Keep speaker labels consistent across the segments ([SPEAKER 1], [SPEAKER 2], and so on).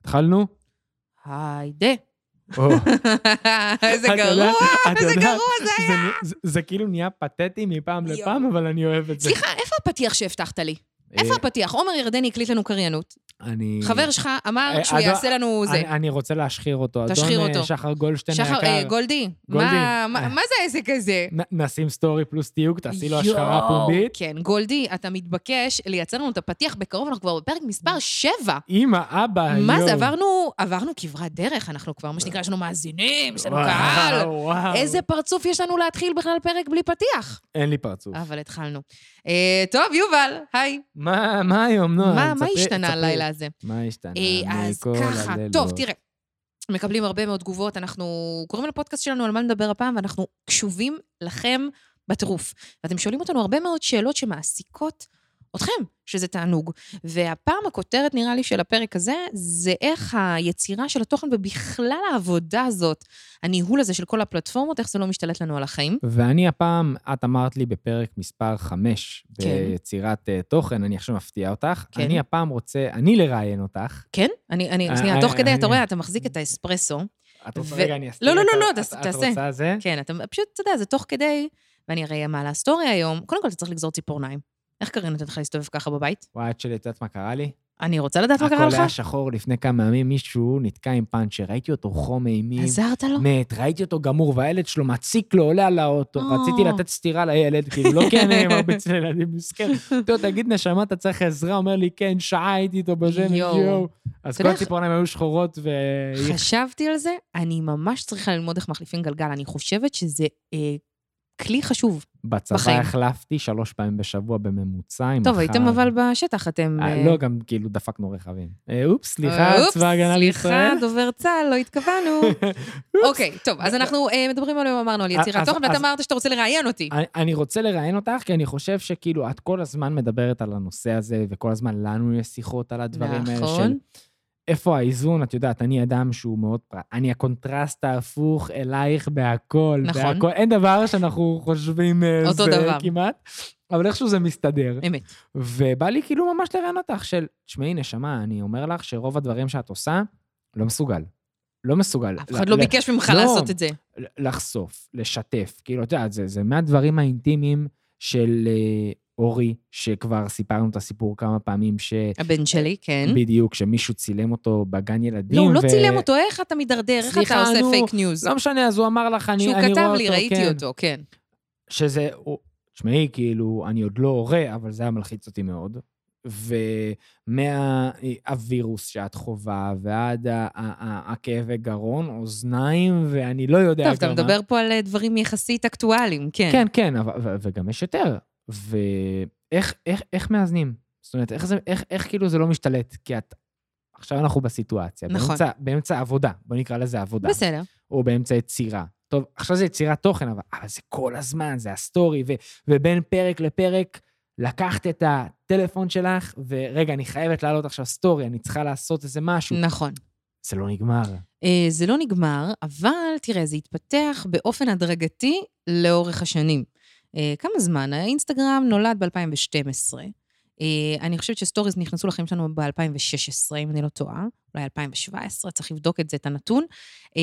[SPEAKER 1] התחלנו?
[SPEAKER 2] היידה.
[SPEAKER 1] או,
[SPEAKER 2] איזה
[SPEAKER 1] את
[SPEAKER 2] גרוע,
[SPEAKER 1] יודעת- את
[SPEAKER 2] איזה
[SPEAKER 1] יודעת,
[SPEAKER 2] גרוע זה היה.
[SPEAKER 1] זה נ- זה- זה כאילו נהיה פתטי מפעם
[SPEAKER 2] יואו.
[SPEAKER 1] לפעם, אבל אני אוהב את זה.
[SPEAKER 2] סליחה, איפה הפתיח שהבטחת לי?
[SPEAKER 1] אה,
[SPEAKER 2] איפה הפתיח? עומר ירדני הקליט לנו קריינות.
[SPEAKER 1] אני...
[SPEAKER 2] חבר שלך אמר
[SPEAKER 1] אה,
[SPEAKER 2] שהוא
[SPEAKER 1] אדון-
[SPEAKER 2] יעשה לנו זה.
[SPEAKER 1] אני- אני רוצה להשחיר אותו.
[SPEAKER 2] תשחיר
[SPEAKER 1] אדון אה,
[SPEAKER 2] אותו.
[SPEAKER 1] שחר גולדשטיין
[SPEAKER 2] שחר, אה,
[SPEAKER 1] היקר,
[SPEAKER 2] גולדי,
[SPEAKER 1] גולדי.
[SPEAKER 2] מה-
[SPEAKER 1] אה.
[SPEAKER 2] מה מה זה העסק הזה?
[SPEAKER 1] נ- נשים סטורי פלוס תיוג, תעשי לו
[SPEAKER 2] יואו,
[SPEAKER 1] השחרה פומבית.
[SPEAKER 2] כן, גולדי, אתה מתבקש לייצר לנו את הפתיח בקרוב, אנחנו כבר בפרק מספר 7.
[SPEAKER 1] אמא, אבא, אה, יואו.
[SPEAKER 2] מה זה, עברנו, עברנו כברת דרך, אנחנו כבר, מה שנקרא, יש לנו מאזינים, יש לנו
[SPEAKER 1] וואו,
[SPEAKER 2] קהל.
[SPEAKER 1] וואו.
[SPEAKER 2] איזה פרצוף יש לנו להתחיל בכלל פרק בלי פתיח?
[SPEAKER 1] אין לי פרצוף.
[SPEAKER 2] אבל התחלנו. אה, טוב, יובל, היי.
[SPEAKER 1] מה מה היום, נועה?
[SPEAKER 2] מה מה
[SPEAKER 1] תספרי-
[SPEAKER 2] השתנה
[SPEAKER 1] תספרי.
[SPEAKER 2] הלילה הזה?
[SPEAKER 1] מה השתנה?
[SPEAKER 2] אה, אז
[SPEAKER 1] מכל
[SPEAKER 2] ככה,
[SPEAKER 1] הלילות?
[SPEAKER 2] טוב, תראה. מקבלים הרבה מאוד תגובות, אנחנו קוראים לפודקאסט שלנו על מה נדבר הפעם, ואנחנו קשובים לכם בטירוף. ואתם שואלים אותנו הרבה מאוד שאלות שמעסיקות אתכם, שזה תענוג. והפעם הכותרת, נראה לי, של הפרק הזה, זה איך היצירה של התוכן ובכלל העבודה הזאת, הניהול הזה של כל הפלטפורמות, איך זה לא משתלט לנו על החיים.
[SPEAKER 1] ואני הפעם, את אמרת לי בפרק מספר 5,
[SPEAKER 2] כן.
[SPEAKER 1] ביצירת אה, תוכן, אני עכשיו מפתיע אותך.
[SPEAKER 2] כן.
[SPEAKER 1] אני הפעם רוצה, אני לראיין אותך.
[SPEAKER 2] כן? אני, אני,
[SPEAKER 1] אה,
[SPEAKER 2] שנייה,
[SPEAKER 1] אה,
[SPEAKER 2] תוך כדי,
[SPEAKER 1] אה,
[SPEAKER 2] אתה
[SPEAKER 1] אה.
[SPEAKER 2] רואה, אתה מחזיק את האספרסו.
[SPEAKER 1] את רוצה,
[SPEAKER 2] ו-
[SPEAKER 1] רגע, אני אסתיר
[SPEAKER 2] לא, לא,
[SPEAKER 1] את
[SPEAKER 2] לא,
[SPEAKER 1] ה-
[SPEAKER 2] לא,
[SPEAKER 1] את-
[SPEAKER 2] תעשה-
[SPEAKER 1] את
[SPEAKER 2] תעשה.
[SPEAKER 1] רוצה זה?
[SPEAKER 2] כן, אתה פשוט, אתה יודע, זה תוך כדי, ואני הרי מעלה סטורי היום. קודם כל, אתה צריך לגזור ציפורניים. איך קארין נותנת לך להסתובב ככה בבית?
[SPEAKER 1] וואי, את שלי, את יודעת מה קרה לי?
[SPEAKER 2] אני רוצה לדעת מה קרה
[SPEAKER 1] הכל
[SPEAKER 2] לך.
[SPEAKER 1] היה שחור לפני כמה ימים, מישהו נתקע עם פאנצ'ר, ראיתי אותו חום אימים.
[SPEAKER 2] עזרת לו?
[SPEAKER 1] מת, ראיתי אותו גמור, והילד שלו מציק לו, עולה על האוטו.
[SPEAKER 2] או.
[SPEAKER 1] רציתי לתת סטירה לילד, כאילו, לא כי אני מרביץ לילדים, מסכן. טוב, תגיד, נשמה, אתה צריך עזרה? אומר לי, כן, שעה הייתי איתו בזה,
[SPEAKER 2] יואו.
[SPEAKER 1] יואו. אז
[SPEAKER 2] אתה
[SPEAKER 1] כל
[SPEAKER 2] יודע-
[SPEAKER 1] הציפורניים היו שחורות, והיא
[SPEAKER 2] חשבתי על זה, אני ממש צריכה ללמוד איך מחליפים גלגל. אני חושבת שזה אה, כלי חשוב.
[SPEAKER 1] בצבא
[SPEAKER 2] בחיים.
[SPEAKER 1] החלפתי שלוש פעמים בשבוע בממוצע עם
[SPEAKER 2] טוב,
[SPEAKER 1] אחת.
[SPEAKER 2] הייתם אבל בשטח, אתם...
[SPEAKER 1] נכון. אה,
[SPEAKER 2] אה,
[SPEAKER 1] לא, גם כאילו דפקנו רכבים. אה, אופס, סליחה,
[SPEAKER 2] אופס,
[SPEAKER 1] צבא הגנה לישראל.
[SPEAKER 2] סליחה, דובר צה"ל, לא התכוונו. אוקיי, טוב, אז אנחנו אה, מדברים היום, אמרנו, על יצירת
[SPEAKER 1] אז-
[SPEAKER 2] תוכן, ואתה
[SPEAKER 1] אז- אה,
[SPEAKER 2] אמרת שאתה רוצה לראיין אותי.
[SPEAKER 1] אני- אני רוצה לראיין אותך, כי אני חושב שכאילו, את כל הזמן מדברת על הנושא הזה, וכל הזמן לנו יש שיחות על הדברים האלה של
[SPEAKER 2] נכון.
[SPEAKER 1] איפה האיזון? את יודעת, אני אדם שהוא מאוד פרט. אני הקונטרסט ההפוך אלייך בהכל.
[SPEAKER 2] נכון.
[SPEAKER 1] בהכל. אין דבר שאנחנו חושבים אה,
[SPEAKER 2] אותו
[SPEAKER 1] זה
[SPEAKER 2] דבר.
[SPEAKER 1] כמעט, אבל איכשהו זה מסתדר.
[SPEAKER 2] אמת.
[SPEAKER 1] ובא לי כאילו ממש לראיין אותך של, תשמעי, נשמה, אני אומר לך שרוב הדברים שאת עושה, לא מסוגל. לא מסוגל.
[SPEAKER 2] אף אחד
[SPEAKER 1] ל-
[SPEAKER 2] לא
[SPEAKER 1] ל-
[SPEAKER 2] ביקש ממך
[SPEAKER 1] לא.
[SPEAKER 2] לעשות את זה.
[SPEAKER 1] ל- לחשוף, לשתף. כאילו, את יודעת, זה, זה מהדברים האינטימיים של אה, אורי, שכבר סיפרנו את הסיפור כמה פעמים, ש...
[SPEAKER 2] הבן שלי, כן.
[SPEAKER 1] בדיוק, שמישהו צילם אותו בגן ילדים.
[SPEAKER 2] לא, הוא לא
[SPEAKER 1] ו-
[SPEAKER 2] צילם אותו, איך אתה מידרדר? איך
[SPEAKER 1] סליחה,
[SPEAKER 2] אתה עושה
[SPEAKER 1] נו,
[SPEAKER 2] פייק ניוז?
[SPEAKER 1] לא משנה, אז הוא אמר לך, אני, אני
[SPEAKER 2] שהוא
[SPEAKER 1] רואה אותו,
[SPEAKER 2] כתב לי, ראיתי
[SPEAKER 1] כן.
[SPEAKER 2] אותו, כן.
[SPEAKER 1] שזה, הוא- תשמעי, כאילו, אני עוד לא הורה, אבל זה היה מלחיץ אותי מאוד. ומהווירוס שאת חווה, ועד ה- ה- ה- הכאבי גרון, אוזניים, ואני לא יודע
[SPEAKER 2] טוב,
[SPEAKER 1] כבר
[SPEAKER 2] אתה
[SPEAKER 1] מה.
[SPEAKER 2] מדבר פה על אה, דברים יחסית אקטואליים, כן.
[SPEAKER 1] כן, כן, אבל, ו- וגם יש יותר. ואיך איך, איך מאזנים? זאת אומרת, איך, זה, איך, איך כאילו זה לא משתלט? כי את... עכשיו אנחנו בסיטואציה.
[SPEAKER 2] נכון.
[SPEAKER 1] באמצע, באמצע עבודה, בוא נקרא לזה עבודה.
[SPEAKER 2] בסדר.
[SPEAKER 1] או באמצע יצירה. טוב, עכשיו זה יצירת תוכן, אבל, אבל זה כל הזמן, זה הסטורי, ו, ובין פרק לפרק, לקחת את הטלפון שלך, ורגע, אני חייבת להעלות עכשיו סטורי, אני צריכה לעשות איזה משהו.
[SPEAKER 2] נכון.
[SPEAKER 1] זה לא נגמר.
[SPEAKER 2] אה, זה לא נגמר, אבל תראה, זה התפתח באופן הדרגתי לאורך השנים. אה, כמה זמן? האינסטגרם נולד ב-2012. אה, אני חושבת שסטוריז נכנסו לחיים שלנו ב-2016, אם אני לא טועה, אולי 2017, צריך לבדוק את זה, את הנתון. אה,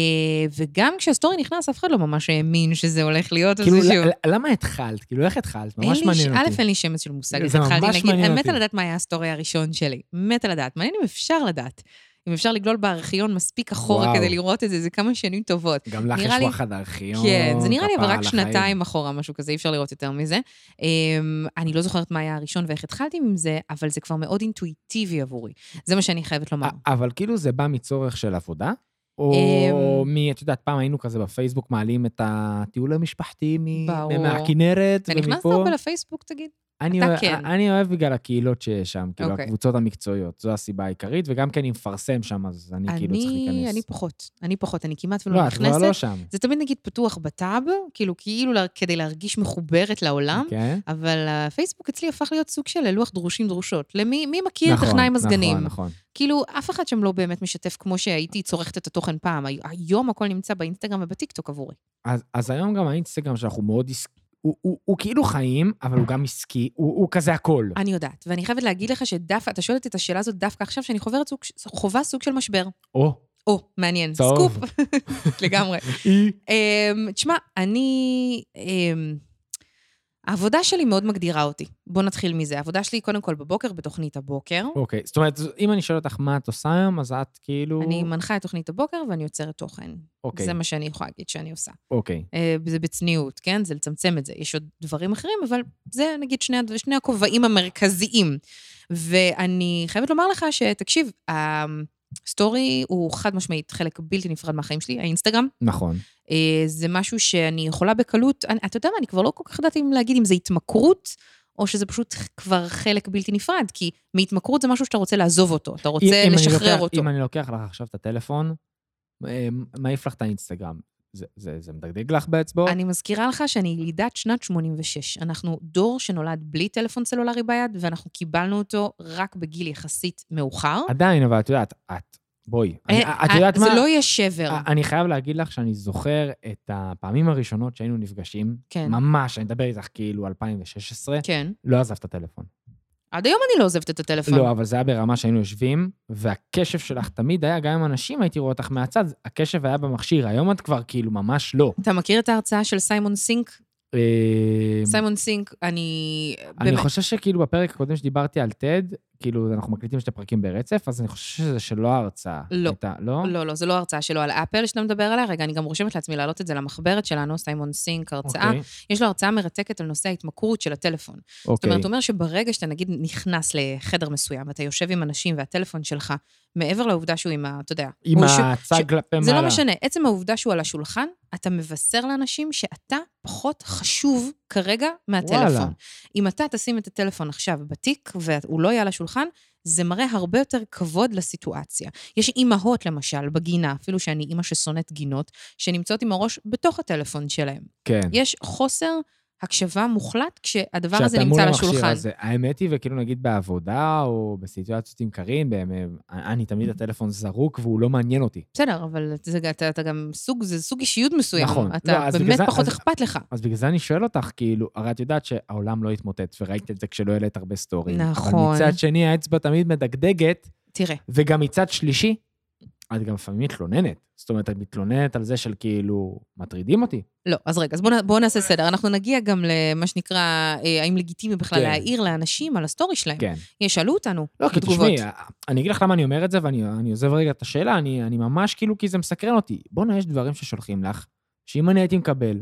[SPEAKER 2] וגם כשהסטורי נכנס, אף אחד לא ממש האמין שזה הולך להיות
[SPEAKER 1] כאילו,
[SPEAKER 2] איזשהו...
[SPEAKER 1] ל- ל- למה התחלת? כאילו, איך התחלת?
[SPEAKER 2] אין
[SPEAKER 1] ממש
[SPEAKER 2] לי
[SPEAKER 1] מעניין
[SPEAKER 2] ש-
[SPEAKER 1] אותי.
[SPEAKER 2] א', אין לי שמץ של מושג.
[SPEAKER 1] זה
[SPEAKER 2] אז התחלתי
[SPEAKER 1] ממש
[SPEAKER 2] להגיד,
[SPEAKER 1] מעניין
[SPEAKER 2] אני
[SPEAKER 1] אותי.
[SPEAKER 2] מתה לדעת מה היה הסטורי הראשון שלי. מתה לדעת. מעניין אם אפשר לדעת. אם אפשר לגלול בארכיון מספיק אחורה
[SPEAKER 1] וואו.
[SPEAKER 2] כדי לראות את זה, זה כמה שנים טובות.
[SPEAKER 1] גם לך יש
[SPEAKER 2] נראה לי-
[SPEAKER 1] וואחד ארכיון.
[SPEAKER 2] כן, זה נראה לי אבל
[SPEAKER 1] כפרה
[SPEAKER 2] רק
[SPEAKER 1] על החיים.
[SPEAKER 2] שנתיים אחורה, משהו כזה, אי אפשר לראות יותר מזה. אמ, אני לא זוכרת מה היה הראשון ואיך התחלתי עם זה, אבל זה כבר מאוד אינטואיטיבי עבורי. זה מה שאני חייבת לומר.
[SPEAKER 1] א- אבל כאילו זה בא מצורך של עבודה? או
[SPEAKER 2] אמ,
[SPEAKER 1] מ... את יודעת, פעם היינו כזה בפייסבוק מעלים את הטיול המשפחתי מ-
[SPEAKER 2] ברור.
[SPEAKER 1] מהכינרת,
[SPEAKER 2] אתה נכנס
[SPEAKER 1] ומפה-
[SPEAKER 2] הרבה לפייסבוק, תגיד?
[SPEAKER 1] אני
[SPEAKER 2] אתה
[SPEAKER 1] אוהב,
[SPEAKER 2] כן.
[SPEAKER 1] אני אוהב בגלל הקהילות שיש שם, כאילו,
[SPEAKER 2] אוקיי.
[SPEAKER 1] הקבוצות המקצועיות, זו הסיבה העיקרית, וגם כי אני מפרסם שם, אז אני כאילו צריך
[SPEAKER 2] אני,
[SPEAKER 1] להיכנס.
[SPEAKER 2] אני פחות. אני פחות, אני כמעט ולא
[SPEAKER 1] לא, את כבר
[SPEAKER 2] נכנסת.
[SPEAKER 1] לא שם.
[SPEAKER 2] זה תמיד נגיד פתוח בטאב, כאילו כאילו לה- כדי להרגיש מחוברת לעולם,
[SPEAKER 1] כן?
[SPEAKER 2] אבל הפייסבוק אצלי הפך להיות סוג של לוח דרושים דרושות. למי מי מכיר
[SPEAKER 1] נכון,
[SPEAKER 2] טכנאי מזגנים?
[SPEAKER 1] נכון, נכון.
[SPEAKER 2] כאילו, אף אחד שם לא באמת משתף כמו שהייתי צורכת את התוכן פעם. הי- היום הכל נמצא באינסטגרם ובטיקטוק עבורי.
[SPEAKER 1] אז, אז היום גם האינסטגרם, שאנחנו מאוד עס- הוא, הוא, הוא כאילו חיים, אבל הוא גם עסקי, הוא, הוא כזה הכל.
[SPEAKER 2] אני יודעת, ואני חייבת להגיד לך שדווקא, אתה שואלת את השאלה הזאת דווקא עכשיו, שאני חוברת סוג, חווה סוג של משבר.
[SPEAKER 1] או,
[SPEAKER 2] או, מעניין,
[SPEAKER 1] צהוב.
[SPEAKER 2] סקופ. לגמרי.
[SPEAKER 1] אי.
[SPEAKER 2] אמ, תשמע, אני... אמ, העבודה שלי מאוד מגדירה אותי. בוא נתחיל מזה. העבודה שלי היא קודם כל בבוקר, בתוכנית הבוקר.
[SPEAKER 1] אוקיי, זאת אומרת, אם אני שואל אותך מה את עושה היום, אז את כאילו...
[SPEAKER 2] אני מנחה את תוכנית הבוקר ואני יוצרת תוכן.
[SPEAKER 1] אוקיי,
[SPEAKER 2] זה מה שאני יכולה להגיד שאני עושה.
[SPEAKER 1] אוקיי.
[SPEAKER 2] אה, זה בצניעות, כן? זה לצמצם את זה. יש עוד דברים אחרים, אבל זה נגיד שני, הד- שני הכובעים המרכזיים. ואני חייבת לומר לך שתקשיב, הסטורי הוא חד משמעית חלק בלתי נפרד מהחיים שלי, האינסטגרם.
[SPEAKER 1] נכון.
[SPEAKER 2] אה, זה משהו שאני יכולה בקלות, אני, אתה יודע מה, אני כבר לא כל כך יודעת אם להגיד אם זה התמכרות. או שזה פשוט כבר חלק בלתי נפרד, כי מהתמכרות זה משהו שאתה רוצה לעזוב אותו, אתה
[SPEAKER 1] אם-
[SPEAKER 2] רוצה
[SPEAKER 1] אם אני
[SPEAKER 2] לשחרר
[SPEAKER 1] לוקח-
[SPEAKER 2] אותו.
[SPEAKER 1] אם אני לוקח לך עכשיו את הטלפון, אה, מעיף לך את האינסטגרם. זה- זה זה מדגדג לך באצבעות?
[SPEAKER 2] אני מזכירה לך שאני ילידת שנת 86. אנחנו דור שנולד בלי טלפון סלולרי ביד, ואנחנו קיבלנו אותו רק בגיל יחסית מאוחר.
[SPEAKER 1] עדיין, אבל את יודעת, את, בואי. אני-
[SPEAKER 2] לא- אה,
[SPEAKER 1] את
[SPEAKER 2] אה,
[SPEAKER 1] יודעת מה?
[SPEAKER 2] זה לא יהיה שבר.
[SPEAKER 1] אה, אני חייב להגיד לך שאני זוכר את הפעמים הראשונות שהיינו נפגשים.
[SPEAKER 2] כן.
[SPEAKER 1] ממש, אני מדבר איתך כאילו 2016,
[SPEAKER 2] כן.
[SPEAKER 1] לא עזב את הטלפון.
[SPEAKER 2] עד היום אני לא עוזבת את הטלפון.
[SPEAKER 1] לא, אבל זה היה ברמה שהיינו יושבים, והקשב שלך תמיד היה, גם עם אנשים הייתי רואה אותך מהצד, הקשב היה במכשיר, היום את כבר כאילו ממש לא.
[SPEAKER 2] אתה מכיר את ההרצאה של סיימון סינק?
[SPEAKER 1] אה,
[SPEAKER 2] סיימון סינק, אני...
[SPEAKER 1] אני
[SPEAKER 2] באמת-
[SPEAKER 1] חושב שכאילו בפרק הקודם שדיברתי על טד, כאילו אנחנו מקליטים שתי פרקים ברצף, אז אני חושב שזה שלא ההרצאה.
[SPEAKER 2] לא.
[SPEAKER 1] הייתה, לא?
[SPEAKER 2] לא, לא, זו לא הרצאה שלו על אפל שאתה מדבר עליה. רגע, אני גם רושמת לעצמי להעלות את זה למחברת שלנו, סיימון סינק, הרצאה.
[SPEAKER 1] אוקיי,
[SPEAKER 2] יש לו הרצאה מרתקת על נושא ההתמכרות של הטלפון. זאת
[SPEAKER 1] אוקיי.
[SPEAKER 2] אומרת, הוא אומר שברגע שאתה נגיד נכנס לחדר מסוים, ואתה יושב עם אנשים והטלפון שלך, מעבר לעובדה שהוא עם ה... אתה יודע,
[SPEAKER 1] עם
[SPEAKER 2] הוא ש-
[SPEAKER 1] הצג כלפי מעלה.
[SPEAKER 2] זה לא משנה. עצם העובדה שהוא על השולחן, אתה מבשר לאנשים שאתה פחות חשוב כרגע מהטלפון.
[SPEAKER 1] וואלה.
[SPEAKER 2] וואלה. אם אתה תשים את הטלפון עכשיו בתיק והוא לא יהיה על השולחן, זה מראה הרבה יותר כבוד לסיטואציה. יש אימהות, למשל, בגינה, אפילו שאני אימא ששונאת גינות, שנמצאות עם הראש בתוך הטלפון שלהם.
[SPEAKER 1] כן.
[SPEAKER 2] יש חוסר הקשבה מוחלט כשהדבר
[SPEAKER 1] כשאתה
[SPEAKER 2] הזה
[SPEAKER 1] מול
[SPEAKER 2] נמצא על
[SPEAKER 1] המכשיר
[SPEAKER 2] השולחן.
[SPEAKER 1] הזה. האמת היא, וכאילו נגיד בעבודה או בסיטואציות עם קארין, באמת, אני תמיד הטלפון זרוק והוא לא מעניין אותי.
[SPEAKER 2] בסדר, אבל זה, אתה, אתה גם סוג, זה סוג אישיות מסוים.
[SPEAKER 1] נכון. לא,
[SPEAKER 2] אתה
[SPEAKER 1] אז בגלל
[SPEAKER 2] באמת
[SPEAKER 1] זה-
[SPEAKER 2] פחות
[SPEAKER 1] אז-
[SPEAKER 2] אכפת לך.
[SPEAKER 1] אז בגלל זה אני שואל אותך, כאילו, הרי את יודעת שהעולם לא התמוטט, וראית את זה כשלא העלית הרבה סטורים. אבל
[SPEAKER 2] נכון.
[SPEAKER 1] מצד שני, האצבע תמיד מדגדגת,
[SPEAKER 2] תראה,
[SPEAKER 1] וגם מצד שלישי, את גם לפעמים מתלוננת. זאת אומרת, את מתלוננת על זה של כאילו, מטרידים אותי.
[SPEAKER 2] לא, אז רגע, אז בואו בוא נעשה סדר. אנחנו נגיע גם למה שנקרא, אה, האם לגיטימי בכלל
[SPEAKER 1] כן.
[SPEAKER 2] להעיר לאנשים על הסטורי שלהם.
[SPEAKER 1] כן.
[SPEAKER 2] ישאלו אותנו
[SPEAKER 1] לא, כי
[SPEAKER 2] בתגובות.
[SPEAKER 1] תשמעי, אני אגיד לך למה אני אומר את זה, ואני אני עוזב רגע את השאלה, אני, אני ממש כאילו, כי זה מסקרן אותי. בואנה, יש דברים ששולחים לך, שאם אני הייתי מקבל,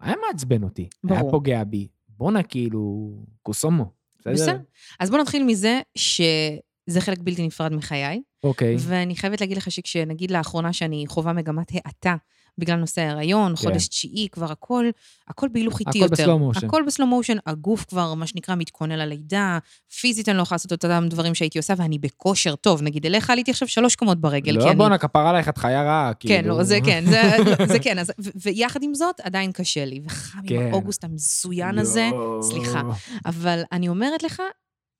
[SPEAKER 1] היה מעצבן אותי. היה
[SPEAKER 2] ברור.
[SPEAKER 1] פוגע בי. בואנה, כאילו, קוסומו. בסדר?
[SPEAKER 2] בסדר. אז בואו נתחיל מזה שזה חלק בלתי נפרד מחיי,
[SPEAKER 1] אוקיי.
[SPEAKER 2] ואני חייבת להגיד לך שכשנגיד לאחרונה שאני חווה מגמת האטה בגלל נושא ההיריון,
[SPEAKER 1] כן.
[SPEAKER 2] חודש תשיעי, כבר הכל, הכל בהילוך איטי
[SPEAKER 1] הכל
[SPEAKER 2] יותר.
[SPEAKER 1] בסלואו מושן.
[SPEAKER 2] הכל בסלואו מושן, הגוף כבר, מה שנקרא, מתכונן ללידה, פיזית אני לא יכולה לעשות את אותם דברים שהייתי עושה, ואני בכושר טוב. נגיד, אליך עליתי עכשיו שלוש קומות ברגל, כי
[SPEAKER 1] לא,
[SPEAKER 2] אני...
[SPEAKER 1] בואנה, כפרה עלייך, את חיה רעה, כאילו.
[SPEAKER 2] כן, לא, זה כן, זה, זה כן. אז, ו- ויחד עם זאת, עדיין קשה לי, וחם עם
[SPEAKER 1] כן.
[SPEAKER 2] האוגוסט המזוין הזה,
[SPEAKER 1] יואו.
[SPEAKER 2] סליחה. אבל אני אומרת לך,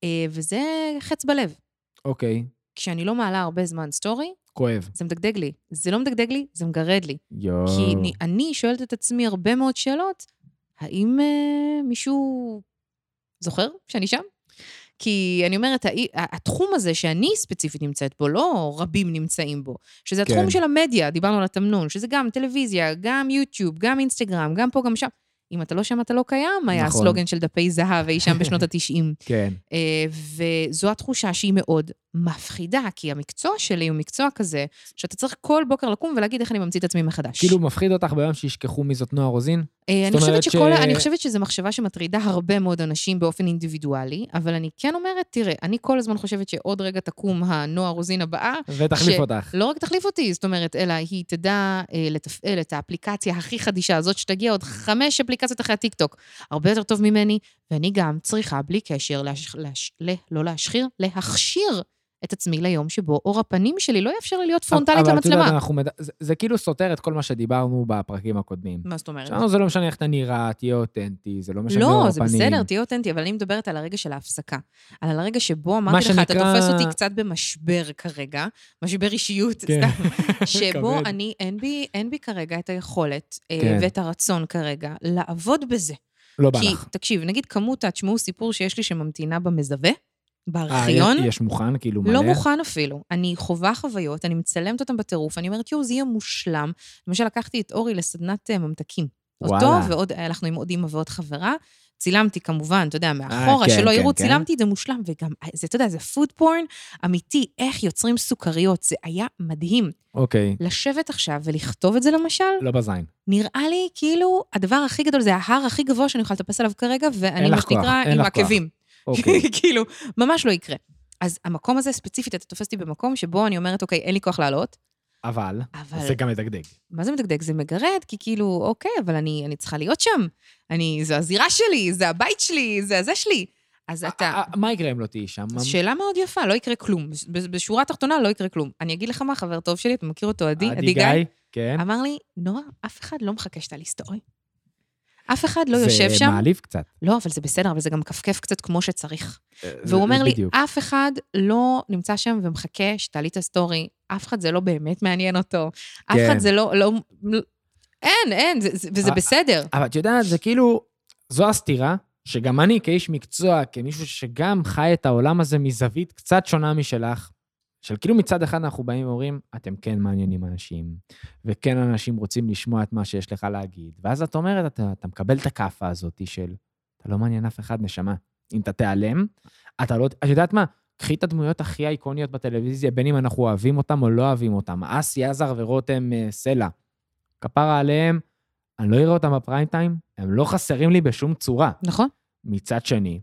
[SPEAKER 2] אה, וזה חץ בלב.
[SPEAKER 1] אוקיי,
[SPEAKER 2] כשאני לא מעלה הרבה זמן סטורי,
[SPEAKER 1] כואב.
[SPEAKER 2] זה מדגדג לי. זה לא מדגדג לי, זה מגרד לי.
[SPEAKER 1] יואו.
[SPEAKER 2] כי אני, אני שואלת את עצמי הרבה מאוד שאלות, האם אה, מישהו זוכר שאני שם? כי אני אומרת, האי- ה- התחום הזה שאני ספציפית נמצאת בו, לא רבים נמצאים בו, שזה התחום
[SPEAKER 1] כן.
[SPEAKER 2] של המדיה, דיברנו על התמנון, שזה גם טלוויזיה, גם יוטיוב, גם אינסטגרם, גם פה, גם שם. אם אתה לא שם, אתה לא קיים, היה
[SPEAKER 1] נכון.
[SPEAKER 2] הסלוגן של דפי זהב אי שם בשנות ה-90.
[SPEAKER 1] כן,
[SPEAKER 2] אה, וזו התחושה שהיא מאוד מפחידה, כי המקצוע שלי הוא מקצוע כזה, שאתה צריך כל בוקר לקום ולהגיד איך אני ממציא את עצמי מחדש.
[SPEAKER 1] כאילו מפחיד אותך ביום שישכחו מי זאת נועה רוזין?
[SPEAKER 2] אה,
[SPEAKER 1] זאת
[SPEAKER 2] אני חושבת,
[SPEAKER 1] אומרת
[SPEAKER 2] שכל, ש...
[SPEAKER 1] ש-
[SPEAKER 2] אני חושבת שזו מחשבה שמטרידה הרבה מאוד אנשים באופן אינדיבידואלי, אבל אני כן אומרת, תראה, אני כל הזמן חושבת שעוד רגע תקום הנועה רוזין הבאה,
[SPEAKER 1] ותחליף
[SPEAKER 2] ש-
[SPEAKER 1] אותך.
[SPEAKER 2] לא רק תחליף אותי, זאת אומרת, אלא היא תדע אה, לתפעל את האפליקציה הכי חדישה הזאת, שתגיע עוד חמש אפליקציות אחרי הטיקטוק. הרבה יותר טוב ממני, ואני גם צריכה, בלי קשר, להש... להש... ל... לא להשחיר, להכשיר את עצמי ליום שבו אור הפנים שלי לא יאפשר לי להיות
[SPEAKER 1] אבל-
[SPEAKER 2] פרונטלית
[SPEAKER 1] אבל את יודעת,
[SPEAKER 2] למצלמה.
[SPEAKER 1] אנחנו מד... זה, זה כאילו סותר את כל מה שדיברנו בפרקים הקודמים.
[SPEAKER 2] מה זאת אומרת?
[SPEAKER 1] שאמרנו, זה לא משנה איך אתה נראה, תהיה אותנטי, זה לא משנה אור
[SPEAKER 2] לא,
[SPEAKER 1] הפנים.
[SPEAKER 2] זה בסדר, תהיה אותנטי, אבל אני מדברת על הרגע של ההפסקה. על הרגע שבו
[SPEAKER 1] מה
[SPEAKER 2] אמרתי לך, אתה
[SPEAKER 1] שנקרא-
[SPEAKER 2] תופס אותי קצת במשבר כרגע, משבר אישיות,
[SPEAKER 1] כן.
[SPEAKER 2] סתם, שבו
[SPEAKER 1] כבד.
[SPEAKER 2] אני, אין בי, אין בי כרגע את היכולת אה,
[SPEAKER 1] כן.
[SPEAKER 2] ואת הרצון כרגע לעבוד בזה.
[SPEAKER 1] לא בא
[SPEAKER 2] כי,
[SPEAKER 1] לך.
[SPEAKER 2] תקשיב, נגיד כמותה, תשמעו סיפור שיש לי שממתינה במזווה,
[SPEAKER 1] אה,
[SPEAKER 2] בארכיון,
[SPEAKER 1] יש- יש מוכן, כאילו מלא?
[SPEAKER 2] לא מוכן אפילו. אני חווה חוויות, אני מצלמת אותן בטירוף, אני אומרת, יואו, זה יהיה מושלם. למשל, לקחתי את אורי לסדנת אה, ממתקים. אותו
[SPEAKER 1] וואלה.
[SPEAKER 2] ועוד, הלכנו עם עוד אימא ועוד חברה. צילמתי כמובן, אתה יודע, מאחורה,
[SPEAKER 1] כן,
[SPEAKER 2] שלא
[SPEAKER 1] כן,
[SPEAKER 2] יראו,
[SPEAKER 1] כן.
[SPEAKER 2] צילמתי את זה מושלם, וגם, אה, זה, אתה יודע, זה פוד פורן אמיתי, איך יוצרים סוכריות, זה היה מדהים.
[SPEAKER 1] אוקיי,
[SPEAKER 2] לשבת עכשיו ולכתוב את זה למשל,
[SPEAKER 1] לא בזין.
[SPEAKER 2] נראה לי כאילו הדבר הכי גדול, זה ההר הכי גבוה שאני יכולה לטפס עליו כרגע, ואני,
[SPEAKER 1] אין
[SPEAKER 2] מה
[SPEAKER 1] לך כוח,
[SPEAKER 2] שנקרא,
[SPEAKER 1] אין
[SPEAKER 2] עם
[SPEAKER 1] לך כוח.
[SPEAKER 2] עקבים.
[SPEAKER 1] אוקיי.
[SPEAKER 2] כאילו, ממש לא יקרה. אז המקום הזה ספציפית, אתה תופס אותי במקום שבו אני אומרת, אוקיי, אין לי כוח לעלות,
[SPEAKER 1] אבל,
[SPEAKER 2] אבל...
[SPEAKER 1] זה גם מדגדג.
[SPEAKER 2] מה זה מדגדג? זה מגרד, כי כאילו, אוקיי, אבל אני, אני צריכה להיות שם. אני, זו הזירה שלי, זה הבית שלי, זה הזה שלי. אז אתה...
[SPEAKER 1] אה, אה, מה יקרה אם לא תהיי שם?
[SPEAKER 2] אז שאלה מאוד יפה, לא יקרה כלום. בש- בשורה התחתונה לא יקרה כלום. אני אגיד לך מה, חבר טוב שלי, אתה מכיר אותו, עדי, עדי גיא,
[SPEAKER 1] כן.
[SPEAKER 2] אמר לי, נועה, אף אחד לא מחכה שתעלי סטורי. אף אחד לא יושב
[SPEAKER 1] זה
[SPEAKER 2] שם.
[SPEAKER 1] מעליב קצת.
[SPEAKER 2] לא, אבל זה בסדר, אבל זה גם כפכף קצת כמו שצריך.
[SPEAKER 1] אה, זה-
[SPEAKER 2] והוא אומר לי,
[SPEAKER 1] בדיוק.
[SPEAKER 2] אף אחד לא נמצא שם ומחכה שתעלי את הסטורי, אף אחד זה לא באמת מעניין אותו, אף
[SPEAKER 1] כן.
[SPEAKER 2] אחד זה לא, לא, אין, אין, זה- זה- וזה
[SPEAKER 1] אה,
[SPEAKER 2] בסדר.
[SPEAKER 1] אבל את יודעת, זה כאילו, זו הסתירה, שגם אני כאיש מקצוע, כמישהו שגם חי את העולם הזה מזווית קצת שונה משלך, של כאילו מצד אחד אנחנו באים ואומרים, אתם כן מעניינים אנשים, וכן אנשים רוצים לשמוע את מה שיש לך להגיד, ואז את אומרת, אתה, אתה מקבל את הכאפה הזאת של, אתה לא מעניין אף אחד, נשמה. אם אתה תיעלם, אתה לא... את יודעת מה? קחי את הדמויות הכי אייקוניות בטלוויזיה, בין אם אנחנו אוהבים אותם או לא אוהבים אותם. אסי עזר ורותם אה, סלע. כפרה עליהם, אני לא אראה אותם בפריים טיים, הם לא חסרים לי בשום צורה.
[SPEAKER 2] נכון?
[SPEAKER 1] מצד שני,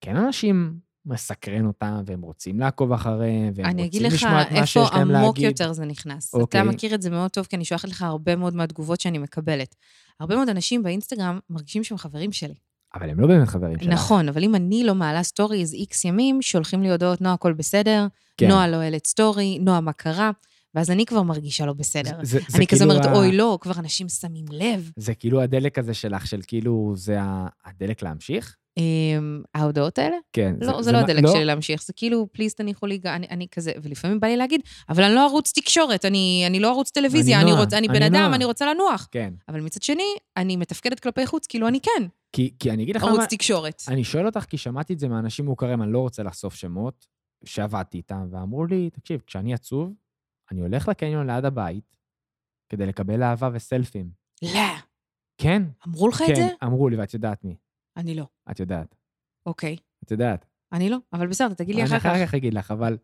[SPEAKER 1] כן אנשים מסקרן אותם, והם רוצים לעקוב אחריהם, והם
[SPEAKER 2] אני אגיד
[SPEAKER 1] רוצים
[SPEAKER 2] לך
[SPEAKER 1] לשמוע את מה
[SPEAKER 2] איפה
[SPEAKER 1] שיש להם
[SPEAKER 2] עמוק
[SPEAKER 1] להגיד.
[SPEAKER 2] יותר זה נכנס.
[SPEAKER 1] אוקיי.
[SPEAKER 2] אתה מכיר את זה מאוד טוב, כי אני שולחת לך הרבה מאוד מהתגובות שאני מקבלת. הרבה מאוד אנשים באינסטגרם מרגישים שהם חברים שלי.
[SPEAKER 1] אבל הם לא באמת חברים שלך.
[SPEAKER 2] נכון, אבל אם אני לא מעלה סטוריז איקס ימים, שולחים לי הודעות, נועה, הכל בסדר,
[SPEAKER 1] כן.
[SPEAKER 2] נועה לא העלית סטורי, נועה, מה קרה? ואז אני כבר מרגישה לא בסדר.
[SPEAKER 1] זה- זה
[SPEAKER 2] אני כזה
[SPEAKER 1] כאילו
[SPEAKER 2] אומרת,
[SPEAKER 1] ה-
[SPEAKER 2] אוי, לא, כבר אנשים שמים לב.
[SPEAKER 1] זה כאילו הדלק הזה שלך, של כאילו, זה ה- הדלק להמשיך?
[SPEAKER 2] אמ, ההודעות האלה?
[SPEAKER 1] כן.
[SPEAKER 2] לא, זה לא
[SPEAKER 1] מה-
[SPEAKER 2] הדלק שלי להמשיך, זה כאילו, פליז תניחו לי, ג- אני אני כזה, ולפעמים בא לי להגיד, אבל אני לא ערוץ תקשורת, אני אני לא ערוץ טלוויזיה,
[SPEAKER 1] אני
[SPEAKER 2] אני
[SPEAKER 1] נועה,
[SPEAKER 2] רוצ- אני
[SPEAKER 1] אני
[SPEAKER 2] בן אדם,
[SPEAKER 1] נועה."
[SPEAKER 2] אני רוצה לנוח.
[SPEAKER 1] כן.
[SPEAKER 2] אבל מצד שני, אני מתפקדת כלפי חוץ, כאילו אני כן
[SPEAKER 1] כי כי אני אגיד לך מה...
[SPEAKER 2] ערוץ תקשורת.
[SPEAKER 1] אני שואל אותך, כי שמעתי את זה מאנשים מוכרים, אני לא רוצה לחשוף שמות, שעבדתי איתם, ואמרו לי, תקשיב, כשאני עצוב, אני הולך לקניון ליד הבית כדי לקבל אהבה וסלפים.
[SPEAKER 2] לא,
[SPEAKER 1] כן,
[SPEAKER 2] אמרו לך את זה?
[SPEAKER 1] כן, אמרו לי, ואת יודעת מי.
[SPEAKER 2] אני לא.
[SPEAKER 1] את יודעת.
[SPEAKER 2] אוקיי.
[SPEAKER 1] את יודעת.
[SPEAKER 2] אני לא, אבל בסדר, אתה תגיד לי
[SPEAKER 1] אני
[SPEAKER 2] אחר כך.
[SPEAKER 1] אחר כך אגיד לך, אבל...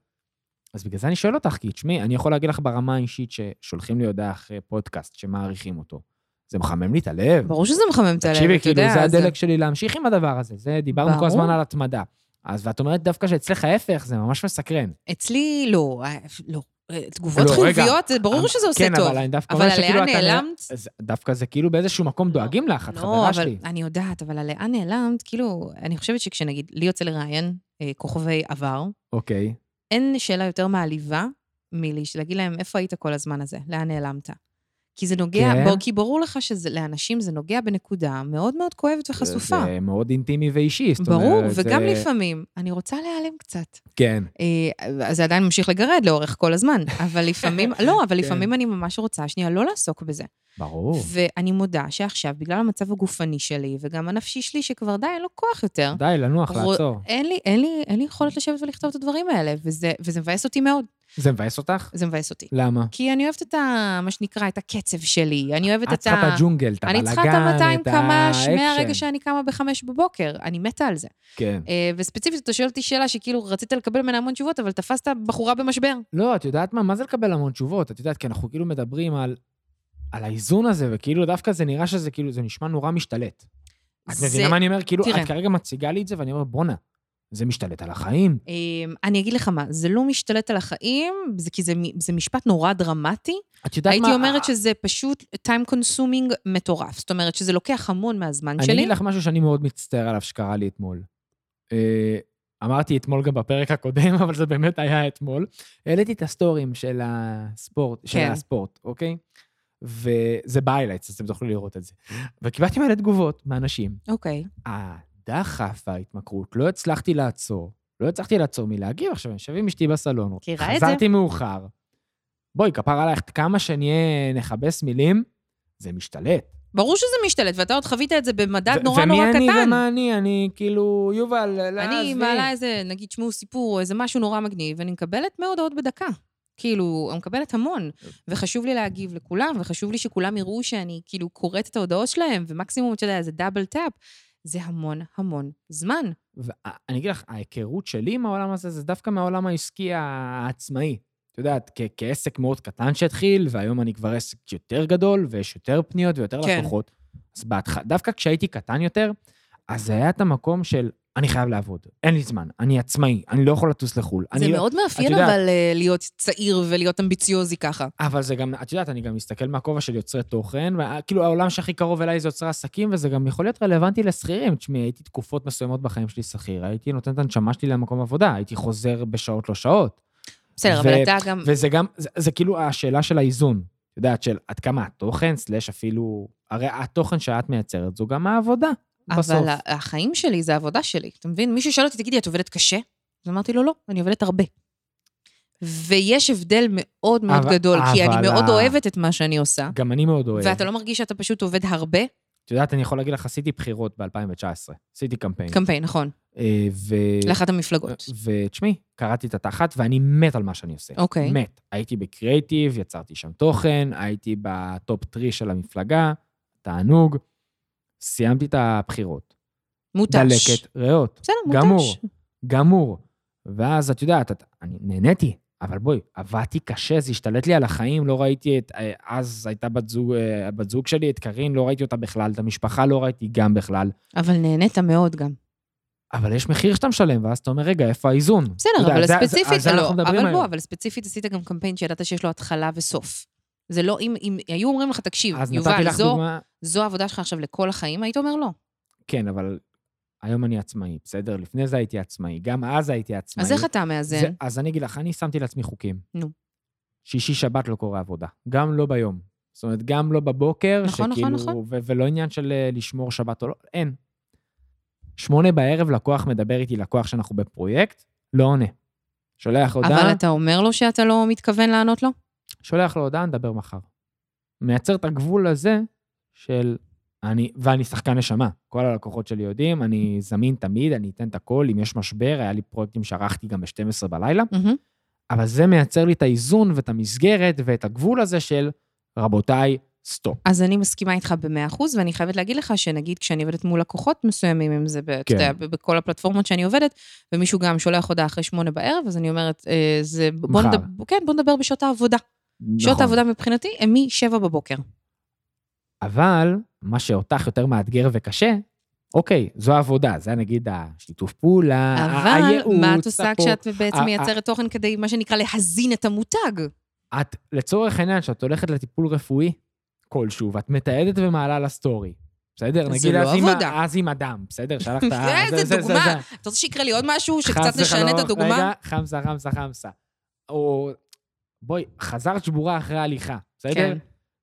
[SPEAKER 1] אז בגלל זה אני שואל אותך, כי תשמעי, אני יכול להגיד לך ברמה האישית ששולחים לי הודעה אחרי פודקאסט שמעריכים אותו. זה מחמם לי את הלב.
[SPEAKER 2] ברור שזה מחמם את הלב, אתה יודע.
[SPEAKER 1] תקשיבי, כאילו, זה
[SPEAKER 2] אז-
[SPEAKER 1] הדלק שלי להמשיך עם הדבר הזה. זה, דיברנו כל
[SPEAKER 2] ברור.
[SPEAKER 1] הזמן על התמדה. אז ואת אומרת דווקא שאצלך ההפך, זה ממש מסקרן.
[SPEAKER 2] אצלי, לא, אה, לא. אה, תגובות
[SPEAKER 1] לא, רגע.
[SPEAKER 2] חיוביות, זה ברור שזה עושה
[SPEAKER 1] כן,
[SPEAKER 2] טוב.
[SPEAKER 1] אבל אני דווקא
[SPEAKER 2] אבל
[SPEAKER 1] אומר שכאילו
[SPEAKER 2] עליה
[SPEAKER 1] אתה... נראה-
[SPEAKER 2] נעלמת?
[SPEAKER 1] אז דווקא זה כאילו באיזשהו מקום דואגים לך, את
[SPEAKER 2] לא,
[SPEAKER 1] חברה
[SPEAKER 2] אבל
[SPEAKER 1] שלי.
[SPEAKER 2] אני יודעת, אבל הלאן נעלמת, כאילו, אני חושבת שכשנגיד, לי יוצא לראיין אה, כוכבי עבר,
[SPEAKER 1] אוקיי.
[SPEAKER 2] אין שאלה יותר מעליבה מלהגיד להם, איפה היית כל הזמן הזה? לאן נעלמת? כי זה נוגע,
[SPEAKER 1] כן.
[SPEAKER 2] כן. כי ברור לך שלאנשים זה נוגע בנקודה מאוד מאוד כואבת וחשופה.
[SPEAKER 1] אה, זה מאוד אינטימי ואישי, זאת אומרת...
[SPEAKER 2] ברור, וגם
[SPEAKER 1] זה-
[SPEAKER 2] לפעמים, אני רוצה להיעלם קצת.
[SPEAKER 1] כן.
[SPEAKER 2] אה, זה עדיין ממשיך לגרד לאורך כל הזמן, אבל לפעמים, לא,
[SPEAKER 1] כן.
[SPEAKER 2] אבל לפעמים אני ממש רוצה שנייה לא לעסוק בזה.
[SPEAKER 1] ברור.
[SPEAKER 2] ואני מודה שעכשיו, בגלל המצב הגופני שלי, וגם הנפשי שלי, שכבר די, אין לו כוח יותר,
[SPEAKER 1] די, לנוח,
[SPEAKER 2] רוא-
[SPEAKER 1] לעצור.
[SPEAKER 2] אין לי, אין לי, אין לי יכולת לשבת ולכתוב את הדברים האלה, וזה, וזה מבאס אותי מאוד.
[SPEAKER 1] זה מבאס אותך?
[SPEAKER 2] זה מבאס אותי.
[SPEAKER 1] למה?
[SPEAKER 2] כי אני אוהבת את ה... מה שנקרא, את הקצב שלי, אני אוהבת את ה...
[SPEAKER 1] את צריכה את הג'ונגל, את הבלאגן,
[SPEAKER 2] אני
[SPEAKER 1] את
[SPEAKER 2] צריכה
[SPEAKER 1] האקשן.
[SPEAKER 2] את ה-200 קמ"ש מהרגע שאני קמה בחמש בבוקר, אני מתה על זה.
[SPEAKER 1] כן.
[SPEAKER 2] אה, וספציפית, אתה שואל אותי שאלה שכאילו רצית לקבל ממנה המון תשובות, אבל תפסת בחורה במשבר.
[SPEAKER 1] לא, את יודעת מה? מה זה לקבל המון תשובות? את יודעת, כי אנחנו כאילו מדברים על... על האיזון הזה, וכאילו דווקא זה נראה שזה כאילו, זה נשמע נורא משתלט. את
[SPEAKER 2] זה-
[SPEAKER 1] מבינה מה אני אומר? כאילו,
[SPEAKER 2] תראה.
[SPEAKER 1] את כרגע מציגה לי את זה, ואני אומר, בואנה, זה משתלט על החיים.
[SPEAKER 2] אמ, אני אגיד לך מה, זה לא משתלט על החיים, זה כי זה, מ- זה משפט נורא דרמטי.
[SPEAKER 1] את יודעת מה? אה,
[SPEAKER 2] הייתי אומרת שזה פשוט time consuming מטורף. זאת אומרת שזה לוקח המון מהזמן
[SPEAKER 1] אני לא-
[SPEAKER 2] שלי.
[SPEAKER 1] אגיד לך משהו שאני מאוד מצטער עליו שקרה לי אתמול. אה, אמרתי אתמול גם בפרק הקודם, אבל זה באמת היה אתמול, העליתי את הסטורים של הספורט, של
[SPEAKER 2] כן.
[SPEAKER 1] הספורט, אוקיי? וזה ביילייטס, אז אתם תוכלו לראות את זה. וקיבלתי מלא תגובות מאנשים.
[SPEAKER 2] אוקיי.
[SPEAKER 1] הדחף וההתמכרות, לא הצלחתי לעצור. לא הצלחתי לעצור מלהגיב עכשיו, אני יושב עם אשתי בסלון.
[SPEAKER 2] כי ראה את זה.
[SPEAKER 1] חזרתי מאוחר. בואי, כפר עלייך, כמה שנהיה נכבס מילים, זה משתלט.
[SPEAKER 2] ברור שזה משתלט, ואתה עוד חווית את זה במדד
[SPEAKER 1] ו-
[SPEAKER 2] נורא נורא קטן.
[SPEAKER 1] ומי אני ומה אני? אני כאילו, יובל, לא,
[SPEAKER 2] אני
[SPEAKER 1] עזבי.
[SPEAKER 2] מעלה איזה, נגיד, שמעו סיפור, איזה משהו נורא מגניב, ואני מקבלת מאות הודעות בדקה. כאילו, אני מקבלת המון, וחשוב לי להגיב לכולם, וחשוב לי שכולם יראו שאני כאילו קוראת את ההודעות שלהם, ומקסימום, אתה יודע, זה דאבל טאפ. זה המון המון זמן.
[SPEAKER 1] ואני אה, אגיד לך, ההיכרות שלי עם העולם הזה, זה דווקא מהעולם העסקי העצמאי. את יודעת, כ- כעסק מאוד קטן שהתחיל, והיום אני כבר עסק יותר גדול, ויש יותר פניות ויותר
[SPEAKER 2] כן.
[SPEAKER 1] לקוחות. אז בהתחלה, דווקא כשהייתי קטן יותר, אז זה היה את המקום של, אני חייב לעבוד, אין לי זמן, אני עצמאי, אני לא יכול לטוס לחו"ל.
[SPEAKER 2] זה
[SPEAKER 1] אני לא-
[SPEAKER 2] מאוד מאפיין
[SPEAKER 1] יודעת-
[SPEAKER 2] אבל אה, להיות צעיר ולהיות אמביציוזי ככה.
[SPEAKER 1] אבל זה גם, את יודעת, אני גם מסתכל מהכובע של יוצרי תוכן, וכאילו העולם שהכי קרוב אליי זה יוצרי עסקים, וזה גם יכול להיות רלוונטי לשכירים. תשמעי, הייתי תקופות מסוימות בחיים שלי שכיר, הייתי נותן את הנשמה שלי למקום עבודה, הייתי חוזר בשעות לא שעות.
[SPEAKER 2] בסדר,
[SPEAKER 1] ו-
[SPEAKER 2] אבל אתה גם...
[SPEAKER 1] וזה גם, זה, זה כאילו השאלה של האיזון, את יודעת, של עד כמה התוכן, סלש אפילו, הרי התוכן שאת מייצרת זו גם העבודה, בסוף.
[SPEAKER 2] אבל ה- החיים שלי זה העבודה שלי, אתה מבין? מישהו שאל אותי, תגידי, את עובדת קשה? אז אמרתי לו, לא, אני עובדת הרבה. ויש הבדל מאוד מאוד
[SPEAKER 1] אבל-
[SPEAKER 2] גדול, כי
[SPEAKER 1] אבל
[SPEAKER 2] אני מאוד
[SPEAKER 1] ה-
[SPEAKER 2] אוהבת את מה שאני עושה,
[SPEAKER 1] גם אני מאוד אוהב.
[SPEAKER 2] ואתה לא מרגיש שאתה פשוט עובד הרבה?
[SPEAKER 1] את יודעת, אני יכול להגיד לך, עשיתי בחירות ב-2019, עשיתי קמפיין.
[SPEAKER 2] קמפיין, נכון,
[SPEAKER 1] אה, כן. ו...
[SPEAKER 2] לאחת המפלגות.
[SPEAKER 1] ותשמעי, קראתי את התחת ואני מת על מה שאני עושה.
[SPEAKER 2] אוקיי.
[SPEAKER 1] מת. הייתי בקריאיטיב, יצרתי שם תוכן, הייתי בטופ 3 של המפלגה, תענוג. סיימתי את הבחירות.
[SPEAKER 2] מותש.
[SPEAKER 1] דלקת ריאות.
[SPEAKER 2] בסדר, מותש.
[SPEAKER 1] גמור. גמור. ואז את יודעת, את, אני נהניתי, אבל בואי, עבדתי קשה, זה השתלט לי על החיים, לא ראיתי את... אה, אז הייתה בת זוג, אה, בת זוג שלי, את קארין, לא ראיתי אותה בכלל, את המשפחה לא ראיתי גם בכלל.
[SPEAKER 2] אבל נהנית מאוד גם.
[SPEAKER 1] אבל יש מחיר שאתה משלם, ואז אתה אומר, רגע, איפה האיזון? אתה
[SPEAKER 2] בסדר,
[SPEAKER 1] יודע,
[SPEAKER 2] אבל
[SPEAKER 1] זה- זה-
[SPEAKER 2] ספציפית,
[SPEAKER 1] על זה
[SPEAKER 2] לא,
[SPEAKER 1] אנחנו מדברים
[SPEAKER 2] אבל
[SPEAKER 1] היום.
[SPEAKER 2] בוא, אבל ספציפית עשית גם קמפיין שידעת שיש לו התחלה וסוף. זה לא, אם אם היו אומרים לך, תקשיב,
[SPEAKER 1] אז נתתי
[SPEAKER 2] יובל,
[SPEAKER 1] לך
[SPEAKER 2] זו-
[SPEAKER 1] דוגמה...
[SPEAKER 2] זו העבודה שלך עכשיו לכל החיים, היית אומר לא.
[SPEAKER 1] כן, אבל היום אני עצמאי, בסדר? לפני זה הייתי עצמאי, גם אז הייתי עצמאי.
[SPEAKER 2] אז איך אתה
[SPEAKER 1] זה-
[SPEAKER 2] מאזן?
[SPEAKER 1] אז אני אגיד לך, אני שמתי לעצמי חוקים.
[SPEAKER 2] נו.
[SPEAKER 1] שישי-שבת לא קורה עבודה, גם לא ביום. זאת אומרת, גם לא בבוקר,
[SPEAKER 2] נכון, נכון,
[SPEAKER 1] שכאילו...
[SPEAKER 2] נכון.
[SPEAKER 1] ו- ולא עניין של אה, לשמור שבת או לא, אין. שמונה בערב לקוח מדבר איתי, לקוח שאנחנו בפרויקט, לא עונה. שולח הודעה,
[SPEAKER 2] אבל אתה אומר לו שאתה לא מתכוון לענות לו?
[SPEAKER 1] שולח לו הודעה, נדבר מחר. מייצר את הגבול הזה של... אני, ואני שחקן נשמה. כל הלקוחות שלי יודעים, אני זמין תמיד, אני אתן את הכל, אם יש משבר, היה לי פרויקטים שערכתי גם ב-12 בלילה,
[SPEAKER 2] מהמם.
[SPEAKER 1] אבל זה מייצר לי את האיזון ואת המסגרת ואת הגבול הזה של, רבותיי, סטופ.
[SPEAKER 2] אז אני מסכימה איתך ב-100%, ואני חייבת להגיד לך שנגיד כשאני עובדת מול לקוחות מסוימים, אם זה, ב- אתה
[SPEAKER 1] כן.
[SPEAKER 2] יודע, ב- בכל הפלטפורמות שאני עובדת, ומישהו גם שולח הודעה אחרי שמונה בערב, אז אני אומרת, אה, זה... בוא
[SPEAKER 1] מחר.
[SPEAKER 2] נדבר, כן, בוא נדבר בשעות העבודה. שעות
[SPEAKER 1] נכון.
[SPEAKER 2] העבודה מבחינתי הן מ-7 בבוקר.
[SPEAKER 1] אבל מה שאותך יותר מאתגר וקשה, אוקיי, זו העבודה, זה נגיד השיתוף פעולה, ה-
[SPEAKER 2] אבל
[SPEAKER 1] הייעוץ,
[SPEAKER 2] מה את עושה
[SPEAKER 1] הפה.
[SPEAKER 2] כשאת בעצם
[SPEAKER 1] ה-
[SPEAKER 2] מייצרת תוכן כדי, מה שנקרא, להזין את המותג?
[SPEAKER 1] את, לצורך העניין, כשאת הולכת לטיפול רפואי כלשהו, ואת מתעדת ומעלה לסטורי, בסדר?
[SPEAKER 2] זה
[SPEAKER 1] נגיד,
[SPEAKER 2] לא
[SPEAKER 1] אז עם ה-
[SPEAKER 2] עבודה.
[SPEAKER 1] אז עם אדם, בסדר? שלחת...
[SPEAKER 2] איזה דוגמה. אתה רוצה שיקרה לי עוד משהו, שקצת
[SPEAKER 1] חס
[SPEAKER 2] נשנה את
[SPEAKER 1] וחלום,
[SPEAKER 2] הדוגמה?
[SPEAKER 1] רגע, חמסה, חמסה, חמסה. או... בואי, חזרת שבורה אחרי ההליכה, בסדר?
[SPEAKER 2] כן.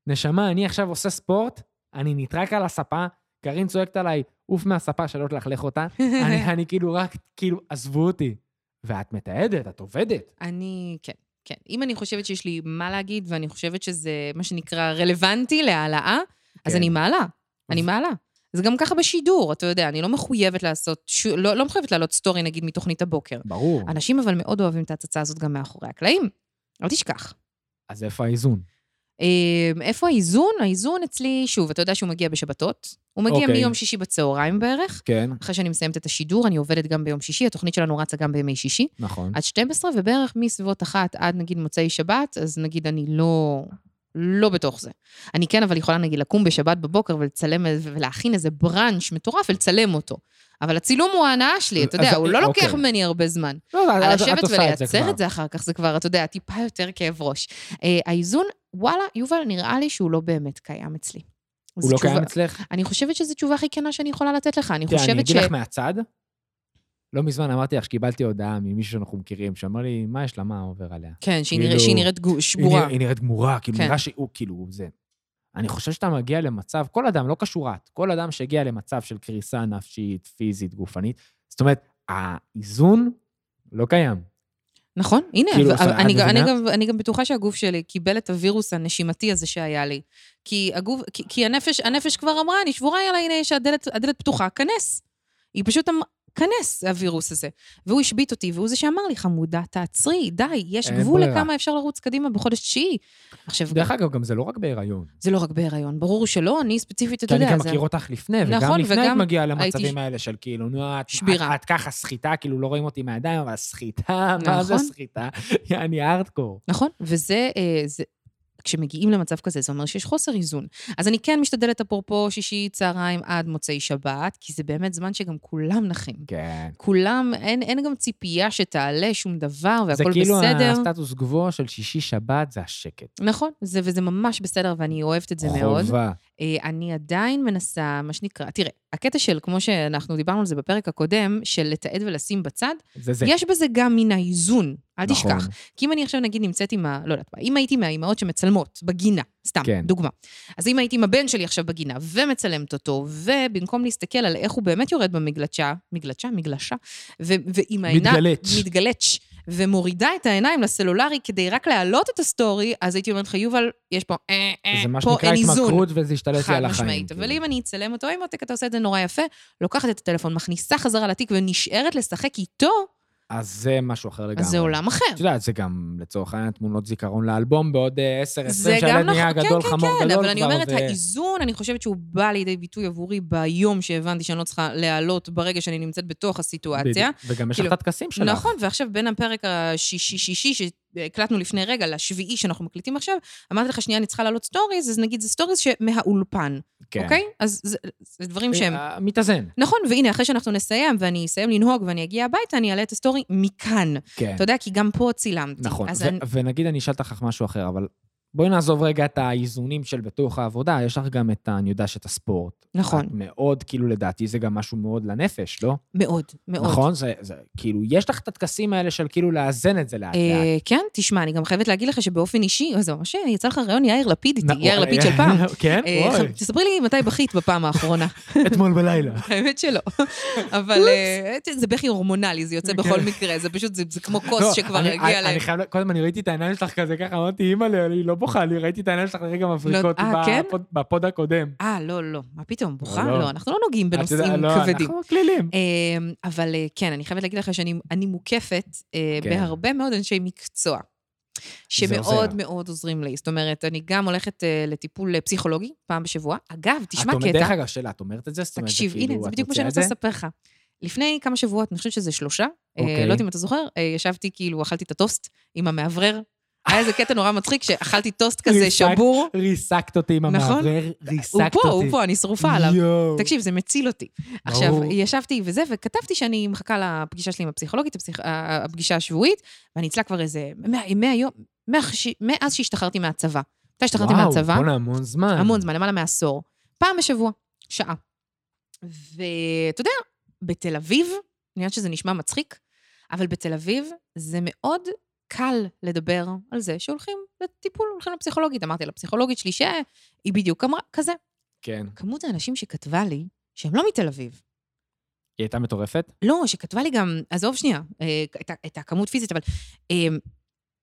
[SPEAKER 1] נשמה, אני עכשיו עושה ספורט, אני נטרק על הספה, קארין צועקת עליי, עוף מהספה שלא תלכלך אותה. אני, אני כאילו רק, כאילו, עזבו אותי. ואת מתעדת, את עובדת.
[SPEAKER 2] אני, כן, כן. אם אני חושבת שיש לי מה להגיד, ואני חושבת שזה, מה שנקרא, רלוונטי להעלאה, אז
[SPEAKER 1] כן.
[SPEAKER 2] אני מעלה. אני
[SPEAKER 1] אז-
[SPEAKER 2] מעלה. זה גם ככה בשידור, אתה יודע, אני לא מחויבת לעשות, ש... לא, לא מחויבת לעלות סטורי, נגיד, מתוכנית הבוקר.
[SPEAKER 1] ברור.
[SPEAKER 2] אנשים אבל מאוד אוהבים את ההצצה הזאת גם מאחורי הקלעים. אל תשכח.
[SPEAKER 1] אז איפה האיזון?
[SPEAKER 2] אמ, איפה האיזון? האיזון אצלי, שוב, אתה יודע שהוא מגיע בשבתות. הוא מגיע
[SPEAKER 1] אוקיי.
[SPEAKER 2] מיום שישי בצהריים בערך.
[SPEAKER 1] כן.
[SPEAKER 2] אחרי שאני מסיימת את השידור, אני עובדת גם ביום שישי, התוכנית שלנו רצה גם בימי שישי.
[SPEAKER 1] נכון.
[SPEAKER 2] עד 12, ובערך מסביבות אחת עד נגיד מוצאי שבת, אז נגיד אני לא... לא בתוך זה. אני כן, אבל יכולה נגיד לקום בשבת בבוקר ולצלם איזה- ולהכין איזה בראנץ' מטורף ולצלם אותו. אבל הצילום הוא ההנאה שלי, אתה יודע,
[SPEAKER 1] אז-
[SPEAKER 2] הוא לא
[SPEAKER 1] אוקיי.
[SPEAKER 2] לוקח ממני הרבה זמן.
[SPEAKER 1] לא, לא, את-
[SPEAKER 2] לשבת
[SPEAKER 1] את עושה את זה
[SPEAKER 2] ולייצר
[SPEAKER 1] כבר.
[SPEAKER 2] את זה אחר כך, זה כבר, אתה יודע, טיפה יותר כאב ראש. אה, האיזון, וואלה, יובל, נראה לי שהוא לא באמת קיים אצלי.
[SPEAKER 1] הוא
[SPEAKER 2] זו
[SPEAKER 1] לא
[SPEAKER 2] תשובה-
[SPEAKER 1] קיים אצלך?
[SPEAKER 2] אני חושבת שזו תשובה הכי כנה שאני יכולה לתת לך. אני
[SPEAKER 1] תראה, אני
[SPEAKER 2] חושבת ש...
[SPEAKER 1] אגיד לך מהצד, לא מזמן אמרתי לך שקיבלתי הודעה ממישהו שאנחנו מכירים, שאמר לי, מה יש לה, מה עובר עליה?
[SPEAKER 2] כן, שהיא
[SPEAKER 1] כאילו-
[SPEAKER 2] נראית- שהיא נראית גו-
[SPEAKER 1] היא
[SPEAKER 2] שבורה.
[SPEAKER 1] נרא- היא נראית גמורה, כאילו,
[SPEAKER 2] כן.
[SPEAKER 1] נראה שהוא, כאילו, זה. אני חושב שאתה מגיע למצב, כל אדם, לא קשור את, כל אדם שהגיע למצב של קריסה נפשית, פיזית, גופנית, זאת אומרת, האיזון לא קיים.
[SPEAKER 2] נכון, הנה,
[SPEAKER 1] כאילו,
[SPEAKER 2] אבל-
[SPEAKER 1] זאת אומרת,
[SPEAKER 2] אני
[SPEAKER 1] את
[SPEAKER 2] גם- אני
[SPEAKER 1] מבינה?
[SPEAKER 2] גם- אני גם בטוחה שהגוף שלי קיבל את הווירוס הנשימתי הזה שהיה לי. כי הגוף, כי- כי הנפש, הנפש כבר אמרה, אני שבורה, יאללה, הנה, יש הדלת, הדלת פתוחה, כנס. היא פשוט אמרה, כנס, הווירוס הזה. והוא השבית אותי, והוא זה שאמר לי, חמודה, תעצרי, די, יש
[SPEAKER 1] אין
[SPEAKER 2] גבול
[SPEAKER 1] ברירה."
[SPEAKER 2] לכמה אפשר לרוץ קדימה בחודש תשיעי. עכשיו,
[SPEAKER 1] דרך אגב, גם זה לא רק בהיריון.
[SPEAKER 2] זה לא רק בהיריון, ברור שלא, אני ספציפית, אתה
[SPEAKER 1] כי אני
[SPEAKER 2] יודע,
[SPEAKER 1] גם
[SPEAKER 2] זה-
[SPEAKER 1] מכיר אותך לפני, וגם
[SPEAKER 2] נכון,
[SPEAKER 1] לפני את
[SPEAKER 2] וגם
[SPEAKER 1] מגיעה
[SPEAKER 2] הייתי
[SPEAKER 1] למצבים
[SPEAKER 2] ש-
[SPEAKER 1] האלה של כאילו, נו, את-
[SPEAKER 2] שבירה.
[SPEAKER 1] את- את ככה סחיטה, כאילו לא רואים אותי מהידיים, אבל סחיטה, מה זה
[SPEAKER 2] נכון.
[SPEAKER 1] סחיטה? יעני הארדקור.
[SPEAKER 2] נכון, וזה... אה, זה... כשמגיעים למצב כזה, זה אומר שיש חוסר איזון. אז אני כן משתדלת, אפרופו שישי צהריים עד מוצאי שבת, כי זה באמת זמן שגם כולם נחים.
[SPEAKER 1] כן.
[SPEAKER 2] כולם, אין, אין גם ציפייה שתעלה שום דבר
[SPEAKER 1] זה
[SPEAKER 2] והכל
[SPEAKER 1] כאילו
[SPEAKER 2] בסדר.
[SPEAKER 1] הסטטוס גבוה של שישי שבת, זה השקט.
[SPEAKER 2] נכון, זה, וזה ממש בסדר, ואני אוהבת את זה מאוד.
[SPEAKER 1] חובה.
[SPEAKER 2] אה, אני עדיין מנסה, מה שנקרא, תראה, הקטע של, כמו שאנחנו דיברנו על זה בפרק הקודם, של לתעד ולשים בצד,
[SPEAKER 1] זה זה.
[SPEAKER 2] זה. יש בזה גם מן האיזון, אל
[SPEAKER 1] נכון.
[SPEAKER 2] תשכח. כי אם אני עכשיו נגיד נמצאת עם ה... לא יודעת מה, אם הייתי מהאימהות שמצלמות בגינה, סתם,
[SPEAKER 1] כן.
[SPEAKER 2] כן. דוגמה. אז אם הייתי עם הבן שלי עכשיו בגינה ומצלמת אותו, ובמקום להסתכל על איך הוא באמת יורד במגלשה, מגלשה, מגלשה, ו- ועם העיניים...
[SPEAKER 1] מתגלץ'.
[SPEAKER 2] מתגלץ'. ומורידה את העיניים לסלולרי כדי רק להעלות את הסטורי, אז הייתי אומרת לך, יובל, יש פה... אה, אה,
[SPEAKER 1] זה מה
[SPEAKER 2] פה
[SPEAKER 1] שנקרא
[SPEAKER 2] אין איזון."
[SPEAKER 1] התמכרות, וזה השתלט לי
[SPEAKER 2] חד
[SPEAKER 1] על החיים.
[SPEAKER 2] משמעית. אבל
[SPEAKER 1] כאילו.
[SPEAKER 2] אם אני אצלם אותו עם עותק, אתה עושה את זה נורא יפה, לוקחת את הטלפון, מכניסה חזרה לתיק ונשארת לשחק איתו,
[SPEAKER 1] אז זה משהו אחר לגמרי.
[SPEAKER 2] אז זה עולם אחר.
[SPEAKER 1] את יודעת, זה גם לצורך העניין תמונות זיכרון לאלבום בעוד אה, 10-20
[SPEAKER 2] זה
[SPEAKER 1] שהילד
[SPEAKER 2] גם
[SPEAKER 1] נהיה
[SPEAKER 2] נכון,
[SPEAKER 1] גדול,
[SPEAKER 2] כן,
[SPEAKER 1] חמור
[SPEAKER 2] כן,
[SPEAKER 1] גדול
[SPEAKER 2] כן,
[SPEAKER 1] כבר.
[SPEAKER 2] אבל אני אומרת,
[SPEAKER 1] ו-
[SPEAKER 2] האיזון, אני חושבת שהוא בא לידי ביטוי עבורי ביום שהבנתי שאני לא צריכה להעלות ברגע שאני נמצאת בתוך הסיטואציה.
[SPEAKER 1] בדיוק. וגם יש לך
[SPEAKER 2] כאילו,
[SPEAKER 1] את הטקסים שלך.
[SPEAKER 2] נכון, ועכשיו בין הפרק השישי-שישי שהקלטנו לפני רגע לשביעי שאנחנו מקליטים עכשיו, אמרתי לך, שנייה, אני צריכה להעלות סטוריז, אז נגיד זה סטוריז שמהאולפן,
[SPEAKER 1] כן.
[SPEAKER 2] אוקיי? אז זה- זה דברים שהם...
[SPEAKER 1] אה, מתאזן.
[SPEAKER 2] נכון, והנה, אחרי שאנחנו נסיים, ואני אסיים לנהוג ואני אגיע הביתה, אני אעלה את הסטורי מכאן.
[SPEAKER 1] כן.
[SPEAKER 2] אתה יודע, כי גם פה צילמתי.
[SPEAKER 1] נכון.
[SPEAKER 2] אז
[SPEAKER 1] ו-
[SPEAKER 2] אני-
[SPEAKER 1] ונגיד אני אשאל אותך משהו אחר, אבל בואי נעזוב רגע את האיזונים של בתוך העבודה, יש לך גם את, ה- אני יודע שאת הספורט.
[SPEAKER 2] נכון.
[SPEAKER 1] את מאוד, כאילו, לדעתי זה גם משהו מאוד לנפש, לא?
[SPEAKER 2] מאוד, מאוד.
[SPEAKER 1] נכון? זה, זה, כאילו, יש לך את הטקסים האלה של כאילו לאזן את זה לאט לאט.
[SPEAKER 2] אה, כן, תשמע, אני גם חייבת להגיד לך שבאופן אישי, אז זה ממש אה, יצא לך רעיון יאיר לפיד איתי,
[SPEAKER 1] נא-
[SPEAKER 2] יאיר
[SPEAKER 1] אוי,
[SPEAKER 2] לפיד של פעם.
[SPEAKER 1] כן?
[SPEAKER 2] אה,
[SPEAKER 1] אוי,
[SPEAKER 2] ח- תספרי לי מתי בכית בפעם האחרונה.
[SPEAKER 1] אתמול בלילה.
[SPEAKER 2] האמת שלא. אבל אה, זה בכי הורמונלי, זה יוצא בכל מקרה, זה פשוט, זה זה כמו
[SPEAKER 1] כן. לא,
[SPEAKER 2] כוס שכבר
[SPEAKER 1] אני-
[SPEAKER 2] הגיע
[SPEAKER 1] אני- אני
[SPEAKER 2] להם.
[SPEAKER 1] חייב, ל- קודם אני ראיתי את העיניים שלך כזה ככה, אמרתי, אימא'לה, היא לא בוכה לי, ראיתי את העיניים שלך לרגע מבריקות
[SPEAKER 2] אה,
[SPEAKER 1] ב-
[SPEAKER 2] כן?
[SPEAKER 1] בפוד- בפוד הקודם.
[SPEAKER 2] אה, לא, לא, מה פתאום, בוכה?
[SPEAKER 1] לא.
[SPEAKER 2] לא, אנחנו לא נוגעים
[SPEAKER 1] את יודעת,
[SPEAKER 2] בנושאים
[SPEAKER 1] לא,
[SPEAKER 2] כבדים.
[SPEAKER 1] אנחנו מקלילים.
[SPEAKER 2] אמ, אבל אה, כן, אני חייבת להגיד לך שאני אני מוקפת אה,
[SPEAKER 1] כן.
[SPEAKER 2] בהרבה מאוד אנשי מקצוע.
[SPEAKER 1] עוזר.
[SPEAKER 2] שמאוד מאוד עוזרים לי. זאת אומרת, אני גם הולכת אה, לטיפול אה, פסיכולוגי פעם בשבוע. אגב, תשמע
[SPEAKER 1] את אומרת-
[SPEAKER 2] קטע,
[SPEAKER 1] דרך אגב, שאלה, את אומרת את זה? זאת אומרת, זה
[SPEAKER 2] תקשיב, הנה,
[SPEAKER 1] כאילו,
[SPEAKER 2] זה
[SPEAKER 1] את
[SPEAKER 2] בדיוק מה
[SPEAKER 1] מוציאה
[SPEAKER 2] שאני
[SPEAKER 1] את
[SPEAKER 2] רוצה
[SPEAKER 1] זה?
[SPEAKER 2] לספר לך. לפני כמה שבועות, אני חושבת שזה שלושה, אה,
[SPEAKER 1] אוקיי.
[SPEAKER 2] לא יודעת אם אתה זוכר, אה, ישבתי כאילו, אכלתי את הטוסט עם המאוורר. היה איזה קטע נורא מצחיק שאכלתי טוסט כזה
[SPEAKER 1] ריסקת
[SPEAKER 2] שבור.
[SPEAKER 1] ריסקת אותי עם
[SPEAKER 2] נכון?
[SPEAKER 1] המאוורר, ריסקת
[SPEAKER 2] הוא
[SPEAKER 1] אותי.
[SPEAKER 2] פה, הוא פה, אני שרופה עליו.
[SPEAKER 1] יואו.
[SPEAKER 2] תקשיב, זה מציל אותי. עכשיו, ישבתי וזה, וכתבתי שאני מחכה לפגישה שלי עם הפסיכולוגית, הפסיכ... ה- הפגישה השבועית, ואני אצלה כבר איזה 100, 100 יום, 100, מאז שהשתחררתי מהצבא. מתי השתחררתי מהצבא?
[SPEAKER 1] וואו, בואנה, המון זמן.
[SPEAKER 2] המון זמן, למעלה מעשור. פעם בשבוע, שעה. ואתה יודע, בתל אביב, אני יודעת שזה נשמע מצחיק, אבל בתל אביב זה מאוד קל לדבר על זה שהולכים לטיפול, הולכים לפסיכולוגית. אמרתי לפסיכולוגית שלי שהיא בדיוק אמרה, כזה.
[SPEAKER 1] כן.
[SPEAKER 2] כמות האנשים שכתבה לי, שהם לא מתל אביב,
[SPEAKER 1] היא הייתה מטורפת?
[SPEAKER 2] לא, שכתבה לי גם, עזוב שנייה, אה, את, ה- את הכמות פיזית, אבל אה,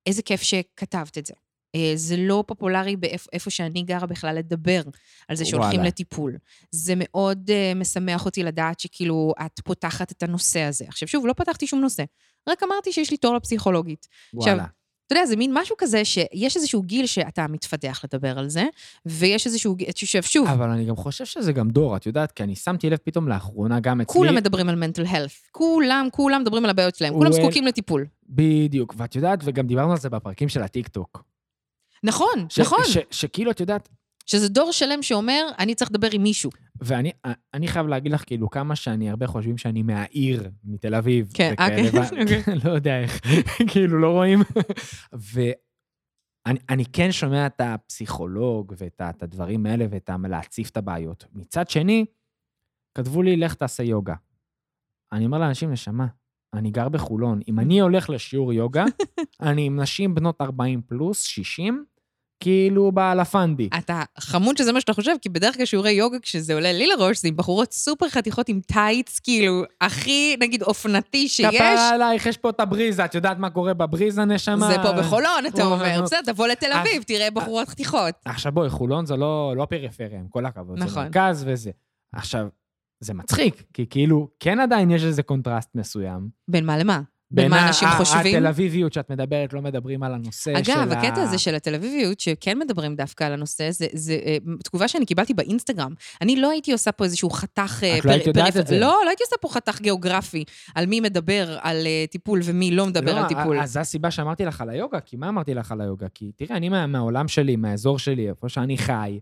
[SPEAKER 2] איזה כיף שכתבת את זה. אה, זה לא פופולרי באיפ, איפה שאני גרה בכלל לדבר על זה שהולכים
[SPEAKER 1] וואלה.
[SPEAKER 2] וואלה. לטיפול. זה מאוד אה, משמח אותי לדעת שכאילו את פותחת את הנושא הזה. עכשיו שוב, לא פתחתי שום נושא, רק אמרתי שיש לי תור לפסיכולוגית. עכשיו,
[SPEAKER 1] וואלה.
[SPEAKER 2] אתה יודע, זה מין משהו כזה שיש איזשהו גיל שאתה מתפתח לדבר על זה, ויש איזשהו גיל, שוב, שוב,
[SPEAKER 1] אבל אני גם חושב שזה גם דור, את יודעת, כי אני שמתי לב פתאום לאחרונה, גם אצלי...
[SPEAKER 2] כולם מדברים על mental health, כולם, כולם מדברים על הבעיות שלהם, כולם
[SPEAKER 1] Well-
[SPEAKER 2] זקוקים לטיפול.
[SPEAKER 1] בדיוק, ואת יודעת, וגם דיברנו על זה בפרקים של הטיקטוק.
[SPEAKER 2] נכון,
[SPEAKER 1] ש-
[SPEAKER 2] נכון.
[SPEAKER 1] ש- שכאילו, את יודעת,
[SPEAKER 2] שזה דור שלם שאומר, אני צריך לדבר עם מישהו.
[SPEAKER 1] ואני אה, אני חייב להגיד לך, כאילו, כמה שאני, הרבה חושבים שאני מהעיר, מתל אביב.
[SPEAKER 2] כן, אה,
[SPEAKER 1] וכאלה,
[SPEAKER 2] כן,
[SPEAKER 1] ו-
[SPEAKER 2] אוקיי.
[SPEAKER 1] לא יודע איך, כאילו, לא רואים. ואני אני כן שומע את הפסיכולוג ואת ה- את הדברים האלה ואת ה- להציף את הבעיות. מצד שני, כתבו לי, לך תעשה יוגה. אני אומר לאנשים, נשמה, אני גר בחולון, אם אני הולך לשיעור יוגה, אני עם נשים בנות 40 פלוס, 60, כאילו באלפנדי.
[SPEAKER 2] אתה חמוד שזה מה שאתה חושב, כי בדרך כלל שיעורי יוגה, כשזה עולה לי לראש, זה עם בחורות סופר חתיכות עם טייץ, כאילו, הכי, נגיד, אופנתי שיש.
[SPEAKER 1] כפרה עלייך, יש פה את הבריזה, את יודעת מה קורה בבריזה, נשמה?
[SPEAKER 2] זה פה בחולון, אתה
[SPEAKER 1] הוא-
[SPEAKER 2] אומר.
[SPEAKER 1] הוא-
[SPEAKER 2] בסדר, תבוא לתל
[SPEAKER 1] אז-
[SPEAKER 2] אביב, תראה בחורות חתיכות.
[SPEAKER 1] עכשיו בואי, חולון זה לא, לא פריפריה, עם כל הכבוד. זה
[SPEAKER 2] נכון.
[SPEAKER 1] מרכז וזה. עכשיו, זה מצחיק, כי כאילו, כן עדיין יש איזה קונטרסט מסוים.
[SPEAKER 2] בין מה למה? בין
[SPEAKER 1] בין
[SPEAKER 2] מה
[SPEAKER 1] ה-
[SPEAKER 2] אנשים
[SPEAKER 1] ה-
[SPEAKER 2] חושבים?
[SPEAKER 1] התל אביביות שאת מדברת, לא מדברים על הנושא של
[SPEAKER 2] אגב,
[SPEAKER 1] ה...
[SPEAKER 2] הקטע הזה של התל אביביות, שכן מדברים דווקא על הנושא, זה, זה אה, תגובה שאני קיבלתי באינסטגרם. אני לא הייתי עושה פה איזשהו חתך... אה,
[SPEAKER 1] את לא היית יודעת את זה.
[SPEAKER 2] לא, לא הייתי עושה פה חתך גיאוגרפי, על מי מדבר על אה, טיפול ומי לא מדבר
[SPEAKER 1] אה,
[SPEAKER 2] על טיפול.
[SPEAKER 1] אז זו הסיבה שאמרתי לך על היוגה, כי מה אמרתי לך על היוגה? כי תראה, אני מה- מהעולם שלי, מהאזור שלי, איפה שאני חי.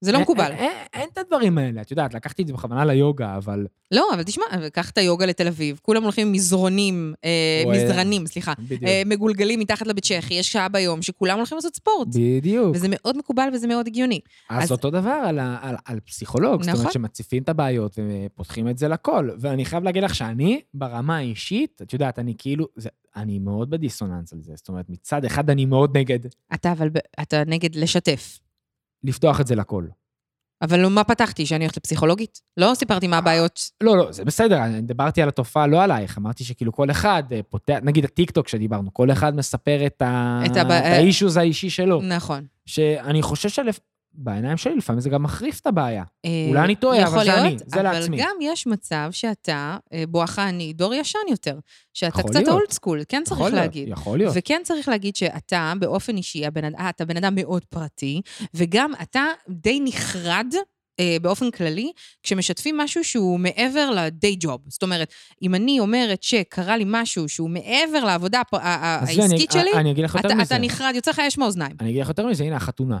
[SPEAKER 2] זה לא
[SPEAKER 1] אין-
[SPEAKER 2] מקובל.
[SPEAKER 1] אין- אין אין את הדברים האלה, את יודעת, לקחתי את זה בכוונה ליוגה, אבל...
[SPEAKER 2] לא, אבל תשמע, אבל קח את היוגה לתל אביב, כולם הולכים עם מזרונים, אה,
[SPEAKER 1] או, אה,
[SPEAKER 2] מזרנים, סליחה,
[SPEAKER 1] בדיוק.
[SPEAKER 2] אה, מגולגלים מתחת לבית צ'כי, יש שעה ביום שכולם הולכים לעשות ספורט.
[SPEAKER 1] בדיוק.
[SPEAKER 2] וזה מאוד מקובל וזה מאוד הגיוני.
[SPEAKER 1] אז
[SPEAKER 2] אז-
[SPEAKER 1] אותו דבר על, ה- על, על פסיכולוג, זאת
[SPEAKER 2] נכון.
[SPEAKER 1] אומרת שמציפים את הבעיות ופותחים את זה לכל. ואני חייב להגיד לך שאני, ברמה האישית, את יודעת, אני כאילו, זה, אני מאוד בדיסוננס על זה. זאת אומרת, מצד אחד אני מאוד נגד
[SPEAKER 2] אתה אבל, ב- אתה נגד לשתף.
[SPEAKER 1] לפתוח את זה לכל.
[SPEAKER 2] אבל לא, מה פתחתי, שאני הולכת לפסיכולוגית? לא סיפרתי מה הבעיות.
[SPEAKER 1] לא, לא, זה בסדר, אני דיברתי על התופעה, לא עלייך. אמרתי שכאילו כל אחד אה, פותח, נגיד הטיקטוק שדיברנו, כל אחד מספר את, ה...
[SPEAKER 2] את
[SPEAKER 1] את,
[SPEAKER 2] הבע- אה,
[SPEAKER 1] האישוז האישי שלו.
[SPEAKER 2] נכון.
[SPEAKER 1] שאני חושב שבעיניים שלי לפעמים זה גם מחריף את הבעיה.
[SPEAKER 2] אה,
[SPEAKER 1] אולי אני טועה, אבל
[SPEAKER 2] יכול
[SPEAKER 1] זה אני,
[SPEAKER 2] להיות,
[SPEAKER 1] זה לעצמי.
[SPEAKER 2] אבל גם יש מצב שאתה, אה, בואכה אני, דור ישן יותר. שאתה
[SPEAKER 1] יכול
[SPEAKER 2] קצת
[SPEAKER 1] להיות.
[SPEAKER 2] אולד סקול, כן צריך
[SPEAKER 1] יכול להיות,
[SPEAKER 2] להגיד.
[SPEAKER 1] יכול להיות.
[SPEAKER 2] וכן צריך להגיד שאתה באופן אישי, הבן, אד- אה, אתה בן אדם מאוד פרטי, וגם אתה די נחרד. אה, באופן כללי, כשמשתפים משהו שהוא מעבר ל-day job. זאת אומרת, אם אני אומרת שקרה לי משהו שהוא מעבר לעבודה הפ- ה- ה-
[SPEAKER 1] אז לא, אני-
[SPEAKER 2] העסקית שלי,
[SPEAKER 1] אני אגיד לך יותר
[SPEAKER 2] אתה-
[SPEAKER 1] מזה.
[SPEAKER 2] אתה נחרד, יוצא לך אש מאוזניים.
[SPEAKER 1] אני אגיד לך יותר מזה, הנה החתונה.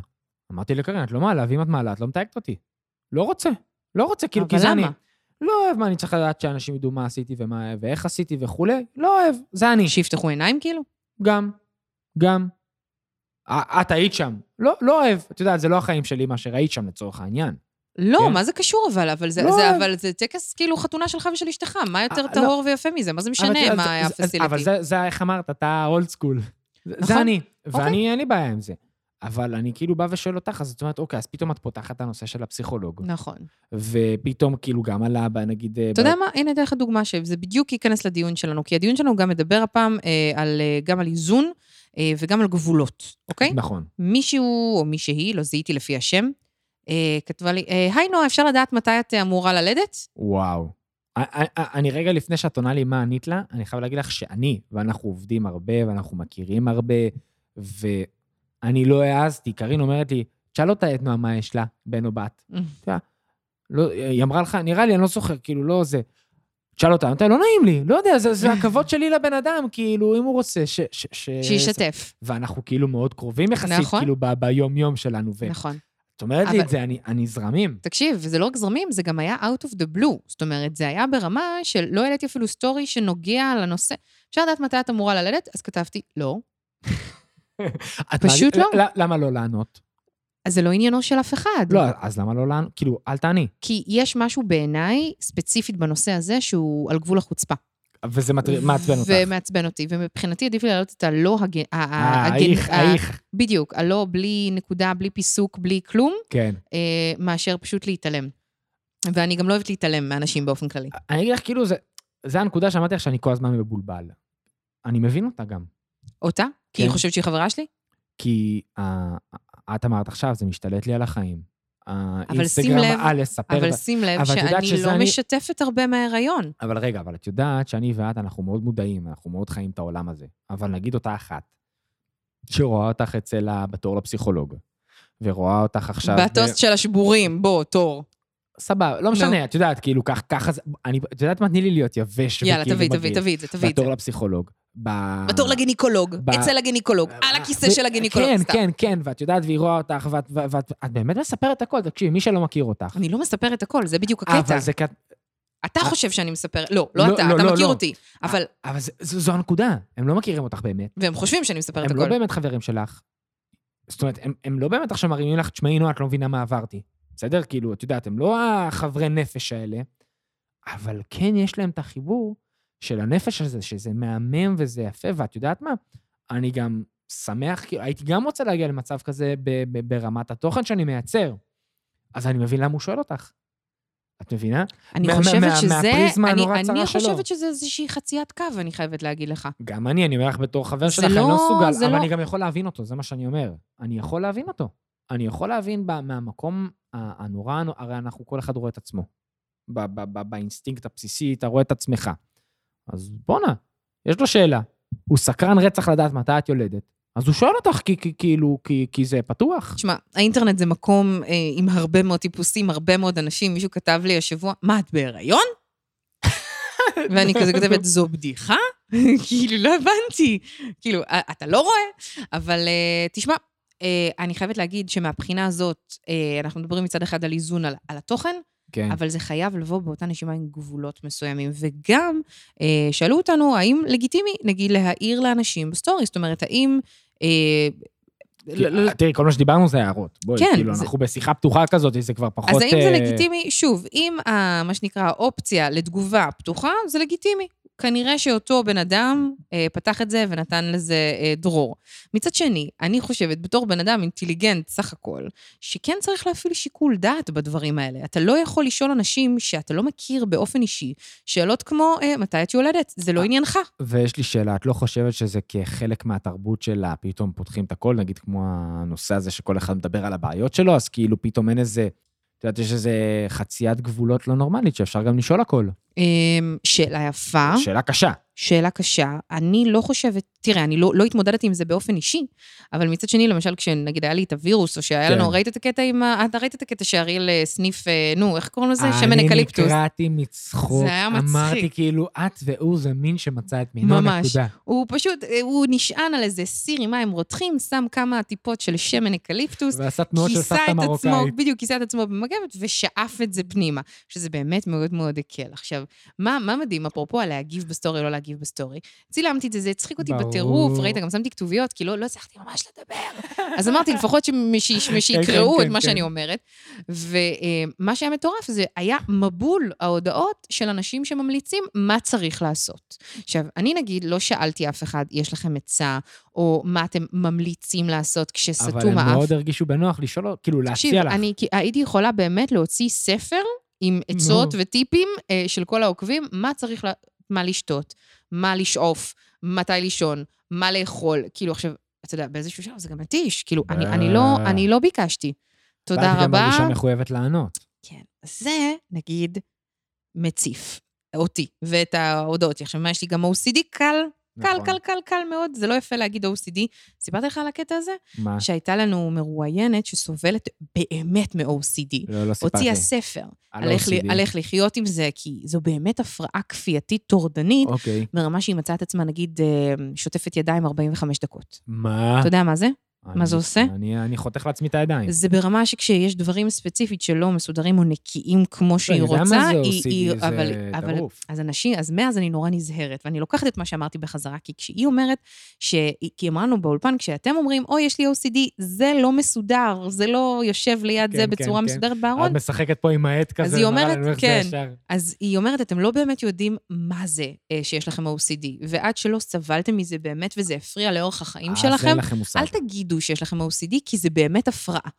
[SPEAKER 1] אמרתי לקרן, את לא מעלה, ואם את מעלה, את לא מתייגת אותי. לא רוצה. לא רוצה, כאילו, כי
[SPEAKER 2] אבל
[SPEAKER 1] זה אני.
[SPEAKER 2] למה?
[SPEAKER 1] לא אוהב מה אני צריך לדעת שאנשים ידעו מה עשיתי ומה, ואיך עשיתי וכולי. לא אוהב, זה אני.
[SPEAKER 2] שיפתחו עיניים כאילו?
[SPEAKER 1] גם, גם. א- את היית שם. לא, לא אוהב. את יודעת, זה לא החיים שלי, מה שראית שם לצורך העניין.
[SPEAKER 2] לא,
[SPEAKER 1] כן.
[SPEAKER 2] מה זה קשור אבל? אבל זה,
[SPEAKER 1] לא.
[SPEAKER 2] זה, אבל זה טקס כאילו חתונה שלך ושל אשתך, מה יותר
[SPEAKER 1] אה, לא.
[SPEAKER 2] טהור ויפה מזה? מה זה
[SPEAKER 1] אבל את
[SPEAKER 2] משנה
[SPEAKER 1] יודעת,
[SPEAKER 2] מה היה
[SPEAKER 1] זה- אז-
[SPEAKER 2] הפסיליטי?
[SPEAKER 1] אבל זה, זה איך אמרת, אתה אולד סקול. זה
[SPEAKER 2] נכון.
[SPEAKER 1] זה אני.
[SPEAKER 2] אוקיי.
[SPEAKER 1] ואני, אין לי בעיה עם זה. אבל אני כאילו בא ושואל אותך, אז את אומרת, אוקיי, אז פתאום את פותחת את הנושא של הפסיכולוג.
[SPEAKER 2] נכון.
[SPEAKER 1] ופתאום כאילו גם עלה, ב- נגיד...
[SPEAKER 2] אתה יודע מה? הנה, אתן לך דוגמה שזה בדיוק ייכנס לדיון שלנו, כי הדיון שלנו גם מדבר הפעם אה, על, אה, גם על איזון אה, וגם על גבולות, אוקיי?
[SPEAKER 1] נכון.
[SPEAKER 2] מישהו או מישהי, לא זיהיתי לפי השם, אה, כתבה לי, אה, היי נועה, אפשר לדעת מתי את אה, אמורה ללדת?
[SPEAKER 1] וואו. א- א- א- אני רגע לפני שאת עונה לי מה ענית לה, אני חייב להגיד לך שאני, ואנחנו עובדים הרבה, ואנחנו מכירים הרבה, ואני לא העזתי. קארין אומרת לי, תשאל אותה את נועה מה יש לה, בן או בת. לא, היא אמרה לך, נראה לי, אני לא זוכר, כאילו, לא זה. תשאל אותה, אמרתי, לא נעים לי, לא יודע, זה, זה הכבוד שלי לבן אדם, כאילו, אם הוא רוצה, ש... ש, ש
[SPEAKER 2] שישתף,
[SPEAKER 1] ואנחנו כאילו מאוד קרובים יחסית,
[SPEAKER 2] נכון.
[SPEAKER 1] כאילו, ב- ביום-יום שלנו. ואת
[SPEAKER 2] נכון.
[SPEAKER 1] אומרת לי את
[SPEAKER 2] אבל-
[SPEAKER 1] זה, אני, אני זרמים.
[SPEAKER 2] תקשיב, וזה לא רק זרמים, זה גם היה out of the blue. זאת אומרת, זה היה ברמה של לא העליתי אפילו סטורי שנוגע לנושא. אפשר לדעת מתי את אמורה ללדת? אז כתבתי, לא.
[SPEAKER 1] את
[SPEAKER 2] פשוט
[SPEAKER 1] מעדיף-
[SPEAKER 2] לא.
[SPEAKER 1] ל- למה לא לענות?
[SPEAKER 2] אז זה לא עניינו של אף אחד.
[SPEAKER 1] לא, אז למה לא לענות? כאילו, אל תעני.
[SPEAKER 2] כי יש משהו בעיניי, ספציפית בנושא הזה, שהוא על גבול החוצפה.
[SPEAKER 1] וזה מטר- מעצבן אותך.
[SPEAKER 2] ומעצבן אותי, ומבחינתי עדיף לי להעלות את הלא הגן... ה- ה-
[SPEAKER 1] אה,
[SPEAKER 2] הגן-
[SPEAKER 1] האיך,
[SPEAKER 2] ה-
[SPEAKER 1] האיך.
[SPEAKER 2] בדיוק, הלא בלי נקודה, בלי פיסוק, בלי כלום,
[SPEAKER 1] כן.
[SPEAKER 2] אה, מאשר פשוט להתעלם. ואני גם לא אוהבת להתעלם מאנשים באופן כללי.
[SPEAKER 1] אני אגיד לך, כאילו, זה- זה הנקודה שאמרתי לך שאני כל הזמן מבולבל. אני מבין אותה גם.
[SPEAKER 2] אותה? כי היא
[SPEAKER 1] כן.
[SPEAKER 2] חושבת שהיא חברה שלי?
[SPEAKER 1] כי אה, את אמרת עכשיו, זה משתלט לי על החיים.
[SPEAKER 2] שים לב-
[SPEAKER 1] אה, לספר...
[SPEAKER 2] אבל
[SPEAKER 1] ב-
[SPEAKER 2] שים לב
[SPEAKER 1] אבל את יודעת
[SPEAKER 2] שאני
[SPEAKER 1] שזה
[SPEAKER 2] לא
[SPEAKER 1] אני-
[SPEAKER 2] משתפת הרבה מההיריון.
[SPEAKER 1] אבל רגע, אבל את יודעת שאני ואת, אנחנו מאוד מודעים, אנחנו מאוד חיים את העולם הזה. אבל נגיד אותה אחת, שרואה אותך אצל ה... בתור לפסיכולוג, ורואה אותך עכשיו... ב-
[SPEAKER 2] בטוסט של השבורים, בוא, תור.
[SPEAKER 1] סבבה, לא משנה, את יודעת, כאילו, כך- ככה זה... אני- את יודעת מה? תני לי להיות יבש.
[SPEAKER 2] יאללה,
[SPEAKER 1] וכאילו
[SPEAKER 2] תביא,
[SPEAKER 1] מגעיל.
[SPEAKER 2] תביא, תביא את זה, תביא את זה.
[SPEAKER 1] בתור לפסיכולוג. ב...
[SPEAKER 2] בתור לגינקולוג,
[SPEAKER 1] ב- אה.
[SPEAKER 2] אצל הגינקולוג, על הכיסא של הגינקולוג.
[SPEAKER 1] כן,
[SPEAKER 2] סתם.
[SPEAKER 1] כן, כן, ואת יודעת, והיא רואה אותך, ואת, ואת, ואת, את באמת מספרת הכל, תקשיבי, מי שלא מכיר אותך.
[SPEAKER 2] אני לא מספרת הכל, זה בדיוק הקטע.
[SPEAKER 1] אבל, זה, כת-
[SPEAKER 2] אתה
[SPEAKER 1] אה.
[SPEAKER 2] חושב שאני מספרת, לא, לא
[SPEAKER 1] לא,
[SPEAKER 2] אתה,
[SPEAKER 1] לא,
[SPEAKER 2] אתה
[SPEAKER 1] לא,
[SPEAKER 2] מכיר
[SPEAKER 1] לא.
[SPEAKER 2] אותי. אבל,
[SPEAKER 1] אבל זה, זו, זו הנקודה, הם לא מכירים אותך באמת.
[SPEAKER 2] והם חושבים שאני מספרת
[SPEAKER 1] הם לא
[SPEAKER 2] הכל.
[SPEAKER 1] באמת חברים שלך. זאת אומרת, הם, הם לא באמת עכשיו מרימים לך, תשמעי, נועה, את לא מבינה מה עברתי. בסדר? כאילו, את יודעת, הם לא החברי נפש האלה, אבל כן יש להם את החיבור של הנפש הזה, שזה מהמם וזה יפה, ואת יודעת מה? אני גם שמח, כאילו, הייתי גם רוצה להגיע למצב כזה ב- ב- ברמת התוכן שאני מייצר. אז אני מבין למה הוא שואל אותך. את מבינה?
[SPEAKER 2] אני
[SPEAKER 1] מה-
[SPEAKER 2] חושבת
[SPEAKER 1] מה-
[SPEAKER 2] שזה...
[SPEAKER 1] מהפריזמה
[SPEAKER 2] אני-
[SPEAKER 1] הנורא צרה
[SPEAKER 2] אני
[SPEAKER 1] שלו.
[SPEAKER 2] חושבת שזה איזושהי חציית קו, אני חייבת להגיד לך.
[SPEAKER 1] גם אני, אני אומר לך בתור חבר
[SPEAKER 2] זה
[SPEAKER 1] שלך, אני
[SPEAKER 2] לא-
[SPEAKER 1] לא
[SPEAKER 2] זה
[SPEAKER 1] מסוגל, אבל
[SPEAKER 2] לא-
[SPEAKER 1] אני גם יכול להבין אותו, זה מה שאני אומר. אני יכול להבין אותו. אני יכול להבין ב- מהמקום ה- הנורא, הרי אנחנו, כל אחד רואה את עצמו. ב- ב- ב- באינסטינקט הבסיסי, אתה רואה את עצמך. אז בואנה, יש לו שאלה. הוא סקרן רצח לדעת מתי את יולדת. אז הוא שואל אותך, כי- כי- כאילו, כי- כי זה פתוח.
[SPEAKER 2] תשמע, האינטרנט זה מקום אה, עם הרבה מאוד טיפוסים, הרבה מאוד אנשים. מישהו כתב לי השבוע, מה, את בהיריון? ואני כזה כותבת, זו בדיחה? כאילו, לא הבנתי. כאילו, "א- אתה לא רואה. אבל אה, תשמע, אה, אני חייבת להגיד שמהבחינה הזאת, אה, אנחנו מדברים מצד אחד על איזון, על, על התוכן,
[SPEAKER 1] כן.
[SPEAKER 2] אבל זה חייב לבוא באותה נשימה עם גבולות מסוימים. וגם אה, שאלו אותנו, האם לגיטימי, נגיד, להעיר לאנשים בסטורי? זאת אומרת, האם... אה,
[SPEAKER 1] כי-
[SPEAKER 2] לא- לא-
[SPEAKER 1] תראי, כל מה שדיברנו זה הערות. בואי,
[SPEAKER 2] כן,
[SPEAKER 1] כאילו,
[SPEAKER 2] זה-
[SPEAKER 1] אנחנו בשיחה פתוחה כזאת, זה כבר פחות...
[SPEAKER 2] אז האם זה
[SPEAKER 1] אה,
[SPEAKER 2] לגיטימי? שוב, אם ה- מה שנקרא האופציה לתגובה פתוחה, זה לגיטימי. כנראה שאותו בן אדם אה, פתח את זה ונתן לזה אה, דרור. מצד שני, אני חושבת, בתור בן אדם אינטליגנט סך הכל, שכן צריך להפעיל שיקול דעת בדברים האלה. אתה לא יכול לשאול אנשים שאתה לא מכיר באופן אישי שאלות כמו, אה, מתי את יולדת? זה לא
[SPEAKER 1] אה.
[SPEAKER 2] עניינך.
[SPEAKER 1] ויש לי שאלה, את לא חושבת שזה כחלק מהתרבות שלה, פתאום פותחים את הכל, נגיד כמו הנושא הזה שכל אחד מדבר על הבעיות שלו, אז כאילו פתאום אין איזה, את יודעת, יש איזה חציית גבולות לא נורמלית שאפשר גם לשאול הכל.
[SPEAKER 2] אה, שאלה יפה.
[SPEAKER 1] שאלה קשה.
[SPEAKER 2] שאלה קשה. אני לא חושבת, תראה, אני לא, לא התמודדתי עם זה באופן אישי, אבל מצד שני, למשל, כשנגיד היה לי את הווירוס, או שהיה
[SPEAKER 1] כן.
[SPEAKER 2] לנו, ראית את הקטע עם ה... אתה ראית את הקטע שאריאל אה, סניף, אה, נו, איך קוראים לזה? שמן
[SPEAKER 1] אני
[SPEAKER 2] אקליפטוס.
[SPEAKER 1] נקרעתי מצחוק.
[SPEAKER 2] זה היה מצחיק.
[SPEAKER 1] אמרתי כאילו, את והוא זה מין שמצא את מינו,
[SPEAKER 2] ממש.
[SPEAKER 1] נקודה.
[SPEAKER 2] הוא פשוט, אה, הוא נשען על איזה סיר עם מים רותחים, שם כמה טיפות של שמן אקליפטוס,
[SPEAKER 1] ועשה תנועות של
[SPEAKER 2] כיסה
[SPEAKER 1] סבתא
[SPEAKER 2] את עצמו,
[SPEAKER 1] מרוקאית.
[SPEAKER 2] בדיוק, כיסה את עצמו במגבת ושאף את זה פנימה, שזה באמת מאוד מאוד הקל. עכשיו, מה, מה מדהים, אפרופו על להגיב בסטורי, לא להגיב בסטורי, צילמתי את זה, זה הצחיק אותי
[SPEAKER 1] ברור.
[SPEAKER 2] בטירוף, ראית, גם שמתי כתוביות, כי לא לא הצלחתי ממש לדבר. אז אמרתי, לפחות שמי שיש- מי
[SPEAKER 1] כן,
[SPEAKER 2] שיקראו
[SPEAKER 1] כן,
[SPEAKER 2] את
[SPEAKER 1] כן.
[SPEAKER 2] מה שאני אומרת. ומה שהיה מטורף זה היה מבול ההודעות של אנשים שממליצים מה צריך לעשות. עכשיו, אני נגיד לא שאלתי אף אחד, יש לכם עצה, או מה אתם ממליצים לעשות כשסתום האף.
[SPEAKER 1] אבל הם מאוד הרגישו בנוח לשאול, כאילו להציע לך.
[SPEAKER 2] אני כי- הייתי יכולה באמת להוציא ספר עם עצות וטיפים אה, של כל העוקבים, מה צריך, לה- מה לשתות, מה לשאוף, מתי לישון, מה לאכול. כאילו, עכשיו, אתה יודע, באיזשהו שלב זה גם מתיש. כאילו, אני- אני לא-
[SPEAKER 1] אה.
[SPEAKER 2] אני לא ביקשתי. תודה
[SPEAKER 1] ואת גם
[SPEAKER 2] רבה.
[SPEAKER 1] מרגישה מחויבת לענות.
[SPEAKER 2] כן. זה, נגיד, מציף אותי ואת ההודעות. עכשיו, מה, יש לי גם OCD קל, קל,
[SPEAKER 1] נכון.
[SPEAKER 2] קל, קל, קל מאוד. זה לא יפה להגיד OCD. סיפרתי לך על הקטע הזה?
[SPEAKER 1] מה?
[SPEAKER 2] שהייתה לנו מרואיינת שסובלת באמת מ-OCD.
[SPEAKER 1] לא, לא סיפרתי.
[SPEAKER 2] הוציאה ספר
[SPEAKER 1] על
[SPEAKER 2] על איך, לי,
[SPEAKER 1] OCD.
[SPEAKER 2] על איך לחיות עם זה, כי זו באמת הפרעה כפייתית טורדנית,
[SPEAKER 1] אוקיי.
[SPEAKER 2] ברמה שהיא מצאה את עצמה, נגיד, אה, שוטפת ידיים 45 דקות.
[SPEAKER 1] מה?
[SPEAKER 2] אתה יודע מה זה? מה זה
[SPEAKER 1] אני-
[SPEAKER 2] עושה?
[SPEAKER 1] אני, אני חותך לעצמי את הידיים.
[SPEAKER 2] זה ברמה שכשיש דברים ספציפית שלא מסודרים או נקיים כמו שהיא
[SPEAKER 1] לא, יודע מה
[SPEAKER 2] רוצה,
[SPEAKER 1] זה
[SPEAKER 2] היא...
[SPEAKER 1] OCD,
[SPEAKER 2] היא
[SPEAKER 1] זה
[SPEAKER 2] אבל,
[SPEAKER 1] טירוף.
[SPEAKER 2] אז אנשים, אז מאז אני נורא נזהרת, ואני לוקחת את מה שאמרתי בחזרה, כי כשהיא אומרת, ש... כי היא אמרה לנו באולפן, כשאתם אומרים, אוי, יש לי OCD, זה לא מסודר, זה לא יושב ליד
[SPEAKER 1] כן,
[SPEAKER 2] זה
[SPEAKER 1] כן,
[SPEAKER 2] בצורה
[SPEAKER 1] כן.
[SPEAKER 2] מסודרת
[SPEAKER 1] את
[SPEAKER 2] בארון,
[SPEAKER 1] משחקת פה עם העט כזה.
[SPEAKER 2] אז היא
[SPEAKER 1] ומראה
[SPEAKER 2] אומרת,
[SPEAKER 1] לנו איך זה
[SPEAKER 2] כן.
[SPEAKER 1] ישר.
[SPEAKER 2] אז היא אומרת, אתם לא באמת יודעים מה זה אה, שיש לכם OCD, ועד שלא סבלתם מזה באמת וזה הפריע לאורך החיים
[SPEAKER 1] אה, אז
[SPEAKER 2] שלכם,
[SPEAKER 1] אין לכם מושג.
[SPEAKER 2] אל תגידו שיש לכם OCD, כי זה באמת הפרעה.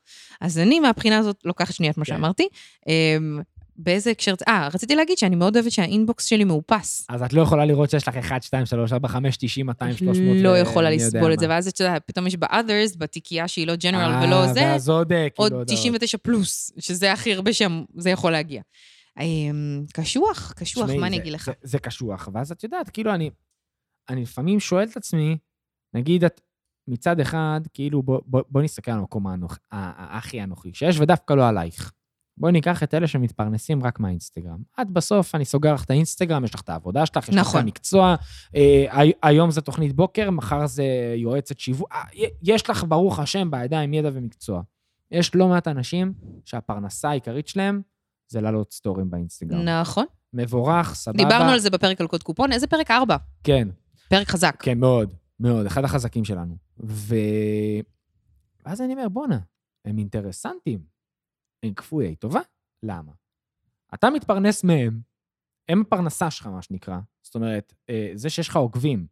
[SPEAKER 2] אז אני מהבחינה הזאת לוקחת שנייה את מה
[SPEAKER 1] כן.
[SPEAKER 2] שאמרתי. אמ, באיזה הקשר... אה, רציתי להגיד שאני מאוד אוהבת שהאינבוקס שלי מאופס.
[SPEAKER 1] אז את לא יכולה לראות שיש לך 1, 2, 3, 4, 5, 90, 200, 300.
[SPEAKER 2] לא
[SPEAKER 1] ו-
[SPEAKER 2] יכולה
[SPEAKER 1] אה, אני יודע
[SPEAKER 2] לסבול את
[SPEAKER 1] מה.
[SPEAKER 2] זה, ואז את יודעת, פתאום יש ב-others, בתיקייה שהיא לא
[SPEAKER 1] אה,
[SPEAKER 2] ג'נרל ולא זה,
[SPEAKER 1] ואז עוד, אה, כאילו,
[SPEAKER 2] עוד 99 פלוס, שזה הכי הרבה שזה יכול להגיע. אמ, קשוח, קשוח,
[SPEAKER 1] תשמעי,
[SPEAKER 2] מה
[SPEAKER 1] זה-
[SPEAKER 2] אני אגיד לך?
[SPEAKER 1] זה- זה קשוח, ואז את יודעת, כאילו, אני אני לפעמים שואל את עצמי, נגיד, את מצד אחד, כאילו, בוא- בוא בוא נסתכל על המקום האנוכ- ה- ה- הכי אנוכי שיש, ודווקא לא עלייך. בואי ניקח את אלה שמתפרנסים רק מהאינסטגרם. את בסוף, אני סוגר לך את האינסטגרם, יש לך את העבודה שלך, יש לך את
[SPEAKER 2] נכון.
[SPEAKER 1] המקצוע, אה, הי- היום זה תוכנית בוקר, מחר זה יועצת שיווק. אה, י- יש לך, ברוך השם, בידיים ידע ומקצוע. יש לא מעט אנשים שהפרנסה העיקרית שלהם זה לעלות סטורים באינסטגרם.
[SPEAKER 2] נכון.
[SPEAKER 1] מבורך, סבבה.
[SPEAKER 2] דיברנו על זה בפרק על קוד קופון, איזה פרק? ארבע.
[SPEAKER 1] כן,
[SPEAKER 2] פרק חזק.
[SPEAKER 1] כן, מאוד, מאוד, אחד החזקים שלנו. ו... ואז אני אומר, בואנה, הם אינטרסנטים, הם כפויי טובה. למה? אתה מתפרנס מהם, הם הפרנסה שלך, מה שנקרא. זאת אומרת, אה, זה שיש לך עוקבים,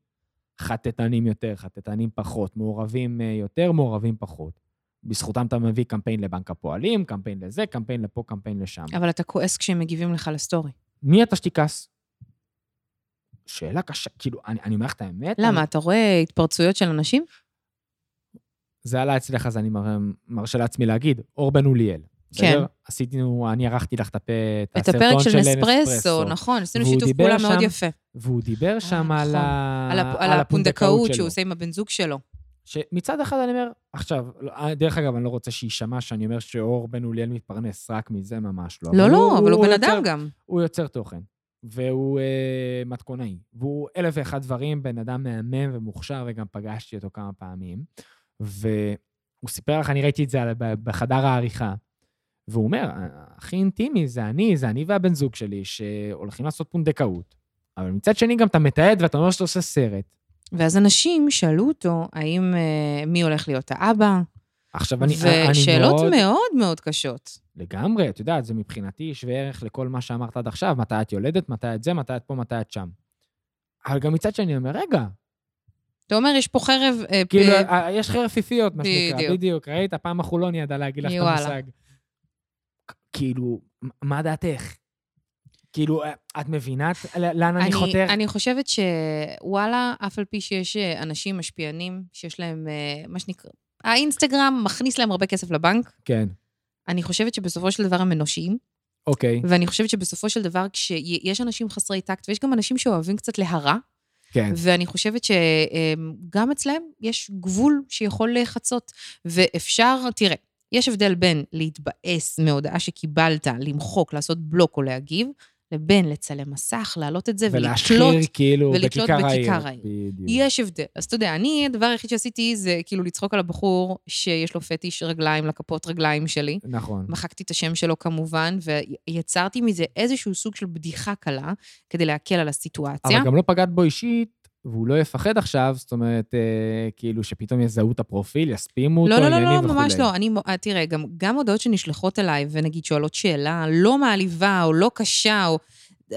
[SPEAKER 1] חטטנים יותר, חטטנים פחות, מעורבים אה, יותר, מעורבים פחות. בזכותם אתה מביא קמפיין לבנק הפועלים, קמפיין לזה, קמפיין לפה, קמפיין לשם.
[SPEAKER 2] אבל אתה כועס כשהם מגיבים לך לסטורי.
[SPEAKER 1] מי אתה שתכעס? שאלה קשה, כאילו, אני, אני אומר לך את האמת.
[SPEAKER 2] למה,
[SPEAKER 1] אני,
[SPEAKER 2] אתה רואה התפרצויות של אנשים?
[SPEAKER 1] זה עלה אצלך, אז אני מר- מרשה לעצמי להגיד, אור בן אוליאל. בסדר?
[SPEAKER 2] כן.
[SPEAKER 1] עשינו, אני ערכתי לך את הפה,
[SPEAKER 2] את
[SPEAKER 1] הסרטון
[SPEAKER 2] הפרק של
[SPEAKER 1] נספרסו.
[SPEAKER 2] נספרסו, נכון, עשינו
[SPEAKER 1] והוא
[SPEAKER 2] שיתוף
[SPEAKER 1] דיבר
[SPEAKER 2] פעולה מאוד
[SPEAKER 1] שם
[SPEAKER 2] יפה.
[SPEAKER 1] והוא דיבר שם על,
[SPEAKER 2] נכון.
[SPEAKER 1] ה...
[SPEAKER 2] על הפ- על הפונדקאות
[SPEAKER 1] שלו.
[SPEAKER 2] שהוא עושה עם הבן זוג שלו.
[SPEAKER 1] שמצד אחד אני אומר, עכשיו, לא, דרך אגב, אני לא רוצה שיישמע שאני אומר שאור בן אוליאל מתפרנס רק מזה, ממש לא.
[SPEAKER 2] לא, לא, אבל הוא בן
[SPEAKER 1] יוצר-
[SPEAKER 2] אדם גם.
[SPEAKER 1] הוא יוצר תוכן, והוא אה, מתכונאי, והוא אלף ואחד דברים, בן אדם מהמם ומוכשר, וגם פגשתי אותו כמה פעמים. והוא סיפר לך, אני ראיתי את זה על- ב- בחדר העריכה, והוא אומר, הכי אינטימי זה אני, זה אני והבן זוג שלי, שהולכים לעשות פונדקאות. אבל מצד שני גם אתה מתעד ואתה אומר שאתה עושה סרט.
[SPEAKER 2] ואז אנשים שאלו אותו, האם אה, מי הולך להיות האבא?
[SPEAKER 1] עכשיו, אני, אני
[SPEAKER 2] ושאלות
[SPEAKER 1] מאוד...
[SPEAKER 2] מאוד מאוד קשות.
[SPEAKER 1] לגמרי, את יודעת, זה מבחינתי שווה ערך לכל מה שאמרת עד עכשיו, מתי את יולדת, מתי את זה, מתי את פה, מתי את שם. אבל גם מצד שני, אני אומר, רגע,
[SPEAKER 2] אתה אומר, יש פה חרב... אה,
[SPEAKER 1] כאילו,
[SPEAKER 2] אה,
[SPEAKER 1] אה, יש חרפיפיות, מה שנקרא,
[SPEAKER 2] בדיוק.
[SPEAKER 1] בדיוק. ראית, פעם החולון ידע להגיד לך את
[SPEAKER 2] יואלה.
[SPEAKER 1] המושג. כ- כאילו, מ- מה דעתך? כאילו, אה, את מבינה את- ל- לאן אני חותר?
[SPEAKER 2] אני חושבת שוואלה, אף על פי שיש אה, אנשים משפיענים, שיש להם, אה, מה שנקרא, האינסטגרם מכניס להם הרבה כסף לבנק.
[SPEAKER 1] כן,
[SPEAKER 2] אני חושבת שבסופו של דבר הם אנושיים,
[SPEAKER 1] אוקיי,
[SPEAKER 2] ואני חושבת שבסופו של דבר כשיש אנשים חסרי טקט, ויש גם אנשים שאוהבים קצת להרע,
[SPEAKER 1] כן.
[SPEAKER 2] ואני חושבת שגם אצלהם יש גבול שיכול להיחצות. ואפשר, תראה, יש הבדל בין להתבאס מהודעה שקיבלת, למחוק, לעשות בלוק או להגיב, לבין לצלם מסך, להעלות את זה
[SPEAKER 1] ולהשחיר,
[SPEAKER 2] ולתלות.
[SPEAKER 1] כאילו,
[SPEAKER 2] ולתלות
[SPEAKER 1] בכיכר העיר.
[SPEAKER 2] בכיכר העיר.
[SPEAKER 1] בדיוק.
[SPEAKER 2] יש הבדל. אז אתה יודע, אני, הדבר היחיד שעשיתי זה כאילו לצחוק על הבחור שיש לו פטיש רגליים לכפות רגליים שלי.
[SPEAKER 1] נכון.
[SPEAKER 2] מחקתי את השם שלו כמובן, ויצרתי מזה איזשהו סוג של בדיחה קלה כדי להקל על הסיטואציה.
[SPEAKER 1] אבל גם לא פגעת בו אישית, והוא לא יפחד עכשיו, זאת אומרת, אה, כאילו, שפתאום יזהו את הפרופיל, יספימו אותו,
[SPEAKER 2] לא, לא,
[SPEAKER 1] עניינים
[SPEAKER 2] לא,
[SPEAKER 1] וכולי.
[SPEAKER 2] לא, ממש לא. אני, מו- אה, תראה, גם, גם הודעות שנשלחות אליי, ונגיד שואלות שאלה לא מעליבה, או לא קשה, או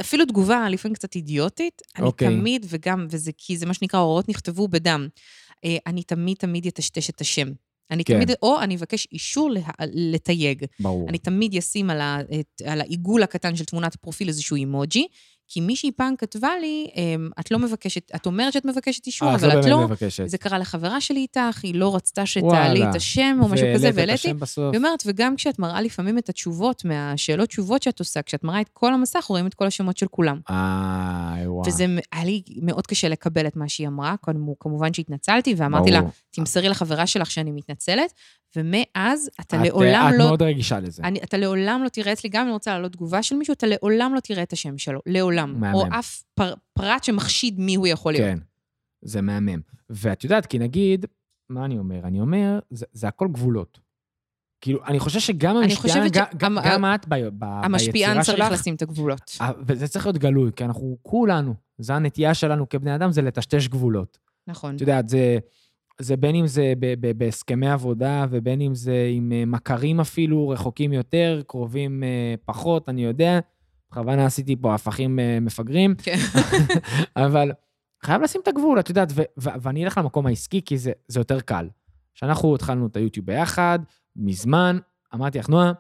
[SPEAKER 2] אפילו תגובה לפעמים קצת אידיוטית, אני
[SPEAKER 1] אוקיי.
[SPEAKER 2] תמיד, וגם, וזה כי זה מה שנקרא, הוראות נכתבו בדם, אה, אני תמיד תמיד אטשטש את השם. אני
[SPEAKER 1] כן.
[SPEAKER 2] כן. תמיד, או אני אבקש אישור לה, לתייג.
[SPEAKER 1] ברור.
[SPEAKER 2] אני תמיד אשים על, ה, את, על העיגול הקטן של תמונת הפרופיל איזשהו אימוג'י, כי מישהי פעם כתבה לי, אמ, את לא מבקשת, את אומרת שאת מבקשת אישור,
[SPEAKER 1] אה,
[SPEAKER 2] אבל את
[SPEAKER 1] באמת
[SPEAKER 2] לא...
[SPEAKER 1] מבקשת.
[SPEAKER 2] זה קרה לחברה שלי איתך, היא לא רצתה שתעלי
[SPEAKER 1] וואלה.
[SPEAKER 2] את השם או משהו כזה,
[SPEAKER 1] והעלית את
[SPEAKER 2] והעליתי.
[SPEAKER 1] השם בסוף.
[SPEAKER 2] היא אומרת, וגם כשאת מראה לפעמים את התשובות מהשאלות תשובות שאת עושה, כשאת מראה את כל המסך, רואים את כל השמות של כולם.
[SPEAKER 1] איי, וואו.
[SPEAKER 2] וזה מ- היה לי מאוד קשה לקבל את מה שהיא אמרה, כמובן- כמובן שהתנצלתי, ואמרתי לה,
[SPEAKER 1] ברור.
[SPEAKER 2] תמסרי לחברה שלך שאני מתנצלת, ומאז אתה
[SPEAKER 1] את, אה,
[SPEAKER 2] לעולם
[SPEAKER 1] את
[SPEAKER 2] לא...
[SPEAKER 1] מאוד רגישה לזה.
[SPEAKER 2] אני, אתה לעולם לא תראה אצלי, גם אם אני רוצה להעלות תגובה של מישהו, אתה לעולם לא תראה את השם שלו, לעולם.
[SPEAKER 1] מהמם.
[SPEAKER 2] או אף פר, פרט שמחשיד מי הוא יכול להיות.
[SPEAKER 1] כן, זה מהמם. ואת יודעת, כי נגיד, מה אני אומר? אני אומר, זה, זה הכל גבולות. כאילו, אני חושב שגם המשפיען,
[SPEAKER 2] חושבת
[SPEAKER 1] גם,
[SPEAKER 2] ש-
[SPEAKER 1] גם,
[SPEAKER 2] המ-
[SPEAKER 1] גם את ב, ב,
[SPEAKER 2] המשפיען
[SPEAKER 1] ביצירה
[SPEAKER 2] צריך
[SPEAKER 1] שלך,
[SPEAKER 2] לשים את הגבולות.
[SPEAKER 1] אה, וזה צריך להיות גלוי, כי אנחנו כולנו, זו הנטייה שלנו כבני אדם, זה לטשטש גבולות.
[SPEAKER 2] נכון.
[SPEAKER 1] את יודעת, זה, זה בין אם זה ב, ב, בהסכמי עבודה, ובין אם זה עם אה, מכרים אפילו, רחוקים יותר, קרובים אה, פחות, אני יודע. בכוונה עשיתי פה הפכים אה, מפגרים.
[SPEAKER 2] כן.
[SPEAKER 1] אבל חייב לשים את הגבול, את יודעת, ו- ו- ואני אלך למקום העסקי, כי זה, זה יותר קל. כשאנחנו התחלנו את היוטיוב ביחד, מזמן, אמרתי לך, נועה,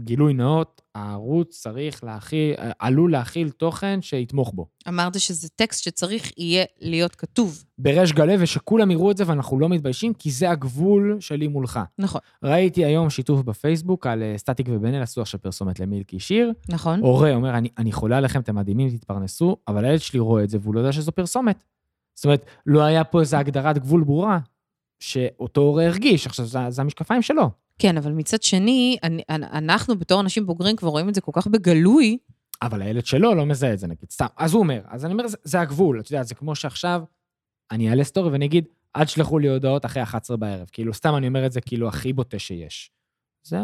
[SPEAKER 1] גילוי נאות, הערוץ צריך להכיל, עלול להכיל תוכן שיתמוך בו.
[SPEAKER 2] אמרת שזה טקסט שצריך יהיה להיות כתוב.
[SPEAKER 1] בריש גלי, ושכולם יראו את זה ואנחנו לא מתביישים, כי זה הגבול שלי מולך.
[SPEAKER 2] נכון.
[SPEAKER 1] ראיתי היום שיתוף בפייסבוק על אה, סטטיק ובן אל, עשו עכשיו פרסומת למילקי שיר.
[SPEAKER 2] נכון.
[SPEAKER 1] הורה אומר, אני, אני חולה עליכם, אתם מדהימים, תתפרנסו, אבל הילד שלי רואה את זה והוא לא יודע שזו פרסומת. זאת אומרת, לא היה פה איזו הגדרת גבול ברורה, שאותו הורה הרגיש, עכשיו זה, זה המשקפיים שלו.
[SPEAKER 2] כן, אבל מצד שני, אני, אנ- אנחנו בתור אנשים בוגרים כבר רואים את זה כל כך בגלוי.
[SPEAKER 1] אבל הילד שלו לא מזהה את זה, נגיד, סתם. אז הוא אומר, אז אני אומר, זה, זה הגבול, את יודעת, זה כמו שעכשיו אני אעלה סטורי ואני אגיד, אל תשלחו לי הודעות אחרי 11 בערב. כאילו, סתם אני אומר את זה כאילו הכי בוטה שיש. זה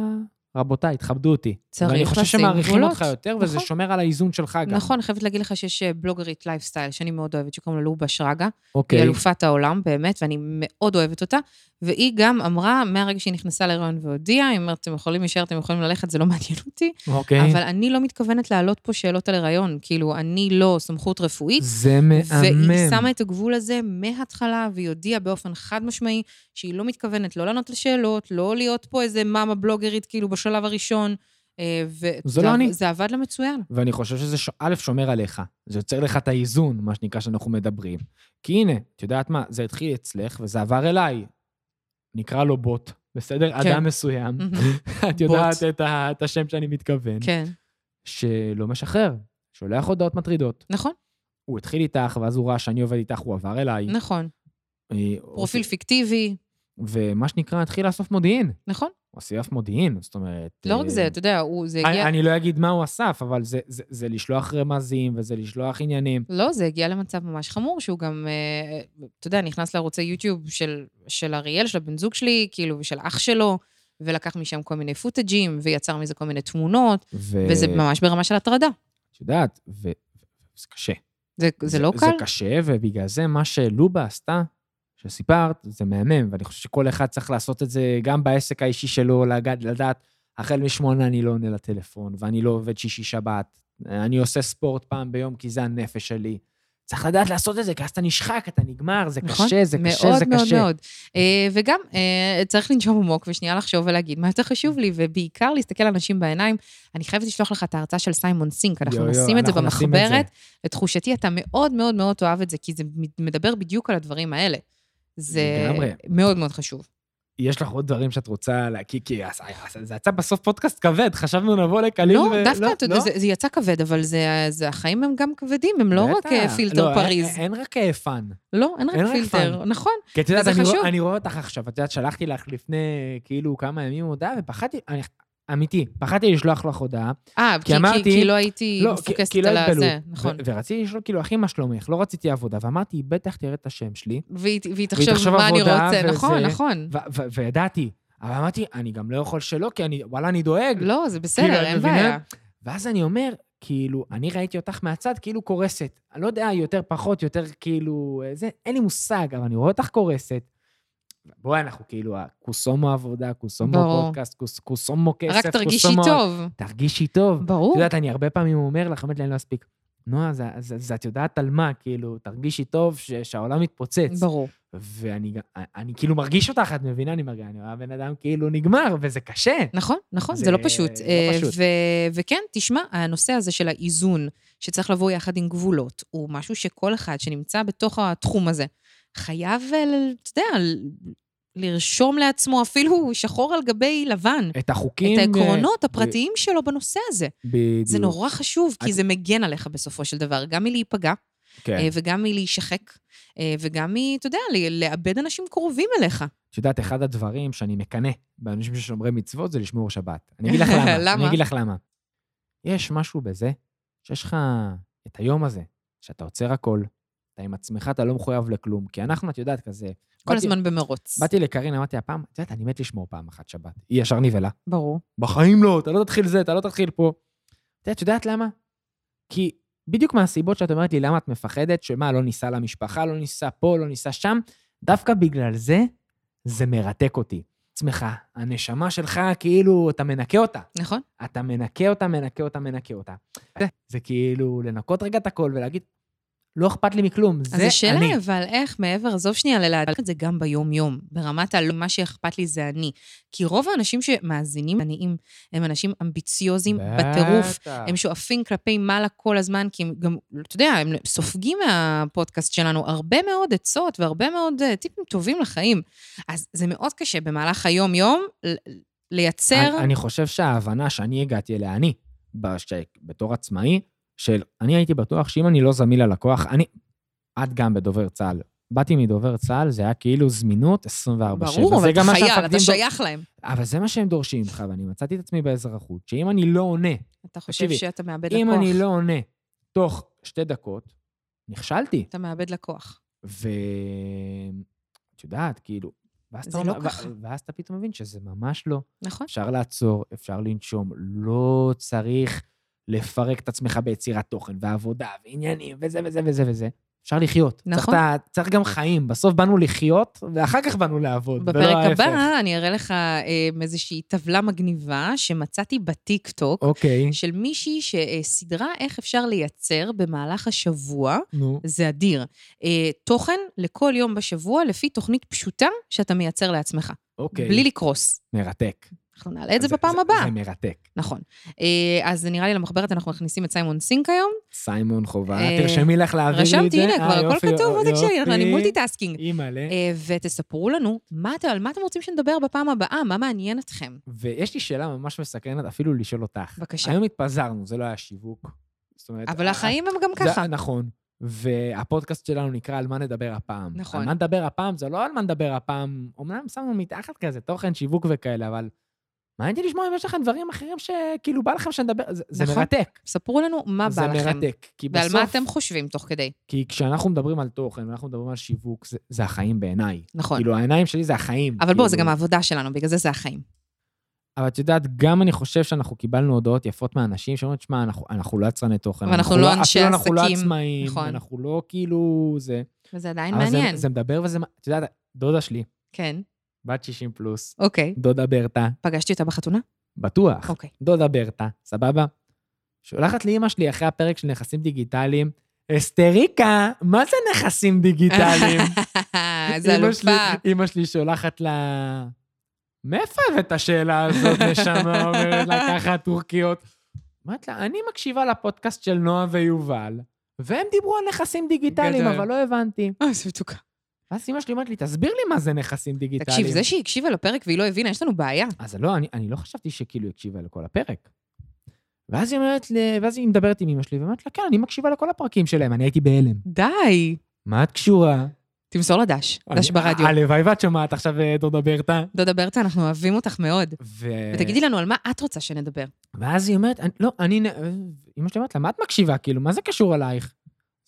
[SPEAKER 1] רבותיי, תכבדו אותי.
[SPEAKER 2] צריך
[SPEAKER 1] ואני חושב
[SPEAKER 2] לשים
[SPEAKER 1] שמעריכים
[SPEAKER 2] גבולות.
[SPEAKER 1] אותך יותר, וזה
[SPEAKER 2] נכון.
[SPEAKER 1] שומר על האיזון שלך גם.
[SPEAKER 2] נכון, אני חייבת להגיד לך שיש אה, בלוגרית לייפסטייל שאני מאוד אוהבת, שקוראים לה לובה שרגא.
[SPEAKER 1] אוקיי.
[SPEAKER 2] היא אלופת העולם, באמת, ואני מאוד אוהבת אותה. והיא גם אמרה, מהרגע שהיא נכנסה להיריון והודיעה, היא אומרת, אתם יכולים להישאר, אתם יכולים ללכת, זה לא מעניין אותי.
[SPEAKER 1] אוקיי.
[SPEAKER 2] אבל אני לא מתכוונת להעלות פה שאלות על הריון. כאילו, אני לא סמכות רפואית,
[SPEAKER 1] זה מהמם.
[SPEAKER 2] והיא שמה את הגבול הזה מההתחלה, והיא הודיעה באופן חד משמעי שהיא לא מתכוונת לא לענות על שאלות, לא להיות פה איזה מאמה בלוגרית, כאילו, בשלב הראשון. אה, ו-
[SPEAKER 1] זה לא אני.
[SPEAKER 2] זה עבד לה מצוין.
[SPEAKER 1] ואני חושב שזה, ש... א', שומר עליך. זה יוצר לך את האיזון, מה שנקרא, שאנחנו מדברים. כי הנה, את יודעת מה, זה התחיל אצלך וזה עבר אליי. נקרא לו בוט, בסדר?
[SPEAKER 2] כן.
[SPEAKER 1] אדם מסוים. את יודעת את, ה... את השם שאני מתכוון.
[SPEAKER 2] כן,
[SPEAKER 1] שלא משחרר, שולח הודעות מטרידות.
[SPEAKER 2] נכון,
[SPEAKER 1] הוא התחיל איתך, ואז הוא ראה שאני עובד איתך, הוא עבר אליי.
[SPEAKER 2] נכון.
[SPEAKER 1] אה,
[SPEAKER 2] פרופיל פיקטיבי,
[SPEAKER 1] ומה שנקרא, התחיל לאסוף מודיעין.
[SPEAKER 2] נכון.
[SPEAKER 1] הוא אסף מודיעין, זאת אומרת...
[SPEAKER 2] לא רק
[SPEAKER 1] אה,
[SPEAKER 2] זה, אתה יודע, הוא, זה
[SPEAKER 1] אני,
[SPEAKER 2] הגיע...
[SPEAKER 1] אני לא אגיד מה הוא אסף, אבל זה, זה, זה לשלוח רמזים וזה לשלוח עניינים.
[SPEAKER 2] לא, זה הגיע למצב ממש חמור, שהוא גם, אה, אתה יודע, נכנס לערוצי יוטיוב של, של אריאל, של הבן זוג שלי, כאילו, ושל אח שלו, ולקח משם כל מיני פוטג'ים, ויצר מזה כל מיני תמונות,
[SPEAKER 1] ו...
[SPEAKER 2] וזה ממש ברמה של הטרדה.
[SPEAKER 1] את יודעת, ו... זה קשה.
[SPEAKER 2] זה, זה, לא קל.
[SPEAKER 1] זה קשה, ובגלל זה מה שלובה עשתה, שסיפרת, זה מהמם, ואני חושב שכל אחד צריך לעשות את זה גם בעסק האישי שלו, לגד, לדעת, החל משמונה אני לא עונה לטלפון, ואני לא עובד שישי-שבת, אני עושה ספורט פעם ביום כי זה הנפש שלי. צריך לדעת לעשות את זה, כי אז אתה נשחק, אתה נגמר, זה
[SPEAKER 2] נכון?
[SPEAKER 1] קשה, זה קשה, זה
[SPEAKER 2] מאוד
[SPEAKER 1] קשה.
[SPEAKER 2] מאוד מאוד. אה, וגם אה, צריך לנשום עמוק ושנייה לחשוב ולהגיד מה יותר חשוב לי, ובעיקר להסתכל לאנשים בעיניים. אני חייבת לשלוח לך את ההרצאה של סיימון סינק, אנחנו
[SPEAKER 1] יו, יו,
[SPEAKER 2] נשים את זה
[SPEAKER 1] אנחנו נשים את
[SPEAKER 2] במחברת. לתחושתי, אתה מאוד מאוד מאוד תאהב את זה, כי זה מדבר בדיוק על הדברים האלה. זה
[SPEAKER 1] לגמרי.
[SPEAKER 2] מאוד מאוד חשוב.
[SPEAKER 1] יש לך עוד דברים שאת רוצה להקיא, כי אז- אז- זה יצא בסוף פודקאסט כבד, חשבנו נבוא לקליל.
[SPEAKER 2] לא,
[SPEAKER 1] ו-
[SPEAKER 2] דווקא, אתה יודע,
[SPEAKER 1] לא?
[SPEAKER 2] זה- זה יצא כבד, אבל זה- זה- החיים הם גם כבדים, הם לא רק
[SPEAKER 1] בטח.
[SPEAKER 2] אה, פילטר
[SPEAKER 1] לא, אין-
[SPEAKER 2] פריז.
[SPEAKER 1] אין רק אה, פאן.
[SPEAKER 2] לא, אין
[SPEAKER 1] אין
[SPEAKER 2] רק
[SPEAKER 1] רק
[SPEAKER 2] פילטר, נכון.
[SPEAKER 1] כי את יודעת,
[SPEAKER 2] וזה
[SPEAKER 1] אני,
[SPEAKER 2] חשוב.
[SPEAKER 1] רוא, אני רואה אותך עכשיו, את יודעת, שלחתי לך לפני כאילו כמה ימים הודעה, ופחדתי, אני, אמיתי, פחדתי לשלוח לך הודעה.
[SPEAKER 2] אה, כי- כי-
[SPEAKER 1] אמרתי-
[SPEAKER 2] כי לא הייתי
[SPEAKER 1] לא, כי-
[SPEAKER 2] מפוקסת
[SPEAKER 1] כי לא
[SPEAKER 2] על
[SPEAKER 1] התבלו.
[SPEAKER 2] הזה, נכון.
[SPEAKER 1] ו- ורציתי לשאול, כאילו, אחי, מה שלומך? לא רציתי עבודה, ואמרתי, היא בטח תראה את השם שלי,
[SPEAKER 2] והיא והיא
[SPEAKER 1] תחשוב
[SPEAKER 2] תחשוב מה אני
[SPEAKER 1] עבודה
[SPEAKER 2] רוצה,
[SPEAKER 1] וזה-
[SPEAKER 2] נכון, נכון.
[SPEAKER 1] ו- ו- וידעתי. אבל אמרתי, אני גם לא יכול שלא, כי אני, וואלה, אני דואג.
[SPEAKER 2] לא, זה
[SPEAKER 1] כאילו,
[SPEAKER 2] בסדר,
[SPEAKER 1] את
[SPEAKER 2] אין
[SPEAKER 1] מבינה?
[SPEAKER 2] בעיה.
[SPEAKER 1] ואז אני אומר, כאילו, אני ראיתי אותך מהצד כאילו קורסת. אני לא יודע, יותר פחות, יותר כאילו... אה, זה, אין לי מושג, אבל אני רואה אותך קורסת. בואי, אנחנו כאילו, קוסומו עבודה, קוסומו
[SPEAKER 2] ברור.
[SPEAKER 1] פודקאסט, קוס, קוסומו כסף,
[SPEAKER 2] רק תרגישי
[SPEAKER 1] קוסומו...
[SPEAKER 2] טוב.
[SPEAKER 1] תרגישי טוב. את
[SPEAKER 2] ברור.
[SPEAKER 1] יודעת, אני הרבה פעמים אומר לך, אומרת לי, אני לא אספיק. נועה, זה, זה, זה, את יודעת על מה, כאילו, תרגישי טוב, ש, שהעולם מתפוצץ.
[SPEAKER 2] ברור.
[SPEAKER 1] ואני גם- אני כאילו מרגיש אותך, את מבינה? אני מרגיש, אני רואה בן אדם כאילו נגמר, וזה קשה.
[SPEAKER 2] נכון, נכון, זה,
[SPEAKER 1] זה
[SPEAKER 2] לא פשוט.
[SPEAKER 1] לא
[SPEAKER 2] אה,
[SPEAKER 1] פשוט.
[SPEAKER 2] ו- וכן, תשמע, הנושא הזה של האיזון, שצריך לבוא יחד עם גבולות, הוא משהו שכל אחד שנמצא בתוך התחום הזה, חייב, אה, ל- אתה יודע, ל- לרשום לעצמו אפילו שחור על גבי לבן.
[SPEAKER 1] את החוקים...
[SPEAKER 2] את
[SPEAKER 1] אה,
[SPEAKER 2] העקרונות
[SPEAKER 1] ב-
[SPEAKER 2] הפרטיים שלו בנושא הזה.
[SPEAKER 1] בדיוק.
[SPEAKER 2] זה נורא חשוב, כי
[SPEAKER 1] את-
[SPEAKER 2] זה מגן עליך בסופו של דבר, גם מלהיפגע,
[SPEAKER 1] כן.
[SPEAKER 2] אה, וגם מלהישחק, אה, וגם מ... אתה יודע, ל- לאבד אנשים קרובים אליך.
[SPEAKER 1] את יודעת, אחד הדברים שאני מקנא באנשים ששומרי מצוות זה לשמור שבת. אני אגיד לך למה.
[SPEAKER 2] למה?
[SPEAKER 1] אני אגיד לך למה. יש משהו בזה שיש לך את היום הזה, שאתה עוצר הכל, אתה עם עצמך, אתה לא מחויב לכלום. כי אנחנו, את יודעת, כזה...
[SPEAKER 2] כל
[SPEAKER 1] באתי-
[SPEAKER 2] הזמן במרוץ.
[SPEAKER 1] באתי לקארין, אמרתי, הפעם, את יודעת, אני מת לשמור פעם אחת שבת. היא ישר נבהלה.
[SPEAKER 2] ברור.
[SPEAKER 1] בחיים לא, אתה לא תתחיל זה, אתה לא תתחיל פה. את יודעת, את יודעת למה? כי בדיוק מהסיבות שאת אומרת לי למה את מפחדת, שמה, לא ניסע למשפחה, לא ניסע פה, לא ניסע שם, דווקא בגלל זה, זה מרתק אותי. עצמך, הנשמה שלך, כאילו, אתה מנקה אותה.
[SPEAKER 2] נכון?
[SPEAKER 1] אתה מנקה אותה, מנקה אותה, מנקה אותה. זה, זה כאילו לנקות רגע את הכל ולהגיד, לא אכפת לי מכלום, זה
[SPEAKER 2] אז השאלה,
[SPEAKER 1] אני.
[SPEAKER 2] אבל איך מעבר, עזוב שנייה ללהדק את זה גם ביום-יום, ברמת הלא, מה שאכפת לי זה אני. כי רוב האנשים שמאזינים עניים הם אנשים אמביציוזים בטירוף.
[SPEAKER 1] בטח.
[SPEAKER 2] הם שואפים כלפי מעלה כל הזמן, כי הם גם, אתה יודע, הם סופגים מהפודקאסט שלנו הרבה מאוד עצות והרבה מאוד אה, טיפים טובים לחיים. אז זה מאוד קשה במהלך היום-יום ל- לייצר...
[SPEAKER 1] אני, אני חושב שההבנה שאני הגעתי אליה, אני, בש... בתור עצמאי, של אני הייתי בטוח שאם אני לא זמין ללקוח, אני... את גם בדובר צה"ל. באתי מדובר צה"ל, זה היה כאילו זמינות 24/7.
[SPEAKER 2] ברור,
[SPEAKER 1] זה
[SPEAKER 2] אבל אתה
[SPEAKER 1] גם מה
[SPEAKER 2] חייל,
[SPEAKER 1] שהמפקדים
[SPEAKER 2] אתה
[SPEAKER 1] דור-
[SPEAKER 2] שייך להם.
[SPEAKER 1] אבל זה מה שהם דורשים ממך, ואני מצאתי את עצמי באזרחות, שאם אני לא עונה,
[SPEAKER 2] אתה חושב
[SPEAKER 1] תקשיבי,
[SPEAKER 2] שאתה מאבד
[SPEAKER 1] אם
[SPEAKER 2] לקוח.
[SPEAKER 1] אני לא עונה תוך שתי דקות, נכשלתי.
[SPEAKER 2] אתה מאבד לקוח.
[SPEAKER 1] ואת יודעת, כאילו, ואז
[SPEAKER 2] זה
[SPEAKER 1] אתה
[SPEAKER 2] לא
[SPEAKER 1] אומר- ו-
[SPEAKER 2] ככה.
[SPEAKER 1] ואז אתה פתאום מבין שזה ממש לא.
[SPEAKER 2] נכון?
[SPEAKER 1] אפשר לעצור, אפשר לנשום, לא צריך לפרק את עצמך ביצירת תוכן ועבודה ועניינים וזה וזה וזה וזה. אפשר לחיות. צריך,
[SPEAKER 2] נכון.
[SPEAKER 1] את ה- צריך גם חיים. בסוף באנו לחיות, ואחר כך באנו לעבוד, ולא
[SPEAKER 2] בפרק
[SPEAKER 1] לא ההפך.
[SPEAKER 2] הבא אני אראה לך אה, איזושהי טבלה מגניבה שמצאתי בטיקטוק.
[SPEAKER 1] אוקיי,
[SPEAKER 2] של מישהי שסידרה איך אפשר לייצר במהלך השבוע,
[SPEAKER 1] נו.
[SPEAKER 2] זה אדיר. אה, תוכן לכל יום בשבוע לפי תוכנית פשוטה שאתה מייצר לעצמך,
[SPEAKER 1] אוקיי.
[SPEAKER 2] בלי לקרוס.
[SPEAKER 1] מרתק.
[SPEAKER 2] אנחנו נעלה את זה בפעם הבאה.
[SPEAKER 1] זה מרתק.
[SPEAKER 2] נכון. אה, אז נראה לי למחברת אנחנו מכניסים את סיימון סינק היום.
[SPEAKER 1] סיימון חובה,
[SPEAKER 2] אה,
[SPEAKER 1] תרשמי לך להעביר לי את זה.
[SPEAKER 2] רשמתי, הנה,
[SPEAKER 1] אה,
[SPEAKER 2] כבר הכל
[SPEAKER 1] יופי,
[SPEAKER 2] כתוב, מה תקשיבי, אנחנו- אני
[SPEAKER 1] יופי.
[SPEAKER 2] מולטיטאסקינג.
[SPEAKER 1] אימא'לה.
[SPEAKER 2] אה, ותספרו לנו מה אתם- על מה אתם רוצים שנדבר בפעם הבאה, מה מעניין אתכם.
[SPEAKER 1] ויש לי שאלה ממש מסקרנת, אפילו לשאול אותך.
[SPEAKER 2] בבקשה.
[SPEAKER 1] היום התפזרנו, זה לא היה שיווק. זאת אומרת... אה,
[SPEAKER 2] אבל
[SPEAKER 1] ה-
[SPEAKER 2] החיים הם גם
[SPEAKER 1] זה-
[SPEAKER 2] ככה.
[SPEAKER 1] נכון. והפודקאסט שלנו נקרא על מה נדבר הפעם.
[SPEAKER 2] נכון.
[SPEAKER 1] על מה נדבר הפעם, זה לא על מה נדבר הפעם. אמנם שמנו מתחת כזה, תוכן, שיווק וכאלה, אבל מעניין אותי לשמוע אם יש לכם דברים אחרים שכאילו בא לכם שנדבר, זה, זה
[SPEAKER 2] נכון.
[SPEAKER 1] מרתק.
[SPEAKER 2] ספרו לנו מה
[SPEAKER 1] זה
[SPEAKER 2] בא לכם.
[SPEAKER 1] מרתק. כי
[SPEAKER 2] ועל
[SPEAKER 1] בסוף,
[SPEAKER 2] מה אתם חושבים תוך כדי.
[SPEAKER 1] כי כשאנחנו מדברים על תוכן, ואנחנו מדברים על שיווק, זה, זה החיים בעיניי.
[SPEAKER 2] נכון.
[SPEAKER 1] כאילו, העיניים שלי זה החיים.
[SPEAKER 2] אבל בוא, זה
[SPEAKER 1] כאילו.
[SPEAKER 2] גם העבודה שלנו, בגלל זה זה החיים.
[SPEAKER 1] אבל את יודעת, גם אני חושב שאנחנו קיבלנו הודעות יפות מאנשים שאומרים, שמע, אנחנו, אנחנו לא יצרני תוכן.
[SPEAKER 2] ואנחנו לא אנשי
[SPEAKER 1] אפילו אנחנו לא
[SPEAKER 2] עסקים,
[SPEAKER 1] עצמאים,
[SPEAKER 2] נכון.
[SPEAKER 1] אנחנו לא כאילו זה.
[SPEAKER 2] וזה עדיין
[SPEAKER 1] אבל זה-
[SPEAKER 2] מעניין.
[SPEAKER 1] זה מדבר וזה... מע- את יודעת, דודה שלי,
[SPEAKER 2] כן,
[SPEAKER 1] בת 60 פלוס,
[SPEAKER 2] אוקיי.
[SPEAKER 1] דודה ברטה,
[SPEAKER 2] פגשתי אותה בחתונה?
[SPEAKER 1] בטוח,
[SPEAKER 2] אוקיי.
[SPEAKER 1] דודה ברטה, סבבה? שולחת לאימא שלי אחרי הפרק של נכסים דיגיטליים, אסתריקה, מה זה נכסים דיגיטליים?
[SPEAKER 2] זה
[SPEAKER 1] אמא שלי-
[SPEAKER 2] אלופה.
[SPEAKER 1] אמא שלי שולחת לה, מאיפה הבאת את השאלה הזאת, נשמה? אומרת לה ככה, הטורקיות. אמרת לה, אני מקשיבה לפודקאסט של נועה ויובל, והם דיברו על נכסים דיגיטליים,
[SPEAKER 2] גדול.
[SPEAKER 1] אבל לא הבנתי.
[SPEAKER 2] אה, זה מתוקה.
[SPEAKER 1] ואז אמא שלי אומרת לי, תסביר לי מה זה נכסים דיגיטליים.
[SPEAKER 2] תקשיב, זה שהיא הקשיבה לפרק והיא לא הבינה, יש לנו בעיה.
[SPEAKER 1] אז לא, אני, אני לא חשבתי שכאילו היא הקשיבה לכל הפרק. ואז היא אומרת, ל... ואז היא מדברת עם אמא שלי, ואומרת לה, כן, אני מקשיבה לכל הפרקים שלהם, אני הייתי בהלם.
[SPEAKER 2] די.
[SPEAKER 1] מה את קשורה?
[SPEAKER 2] תמסור לה דש, דש
[SPEAKER 1] אני-
[SPEAKER 2] ברדיו.
[SPEAKER 1] הלוואי ואת שומעת עכשיו אה, דודה ברטה.
[SPEAKER 2] דודה ברטה, אנחנו אוהבים אותך מאוד.
[SPEAKER 1] ו...
[SPEAKER 2] ותגידי לנו על מה את רוצה שנדבר.
[SPEAKER 1] ואז היא אומרת, "אני- לא, אני... נ- אה, אמא שלי אומרת לה, מה את מקשיבה? כאילו, מה זה קשור אלייך?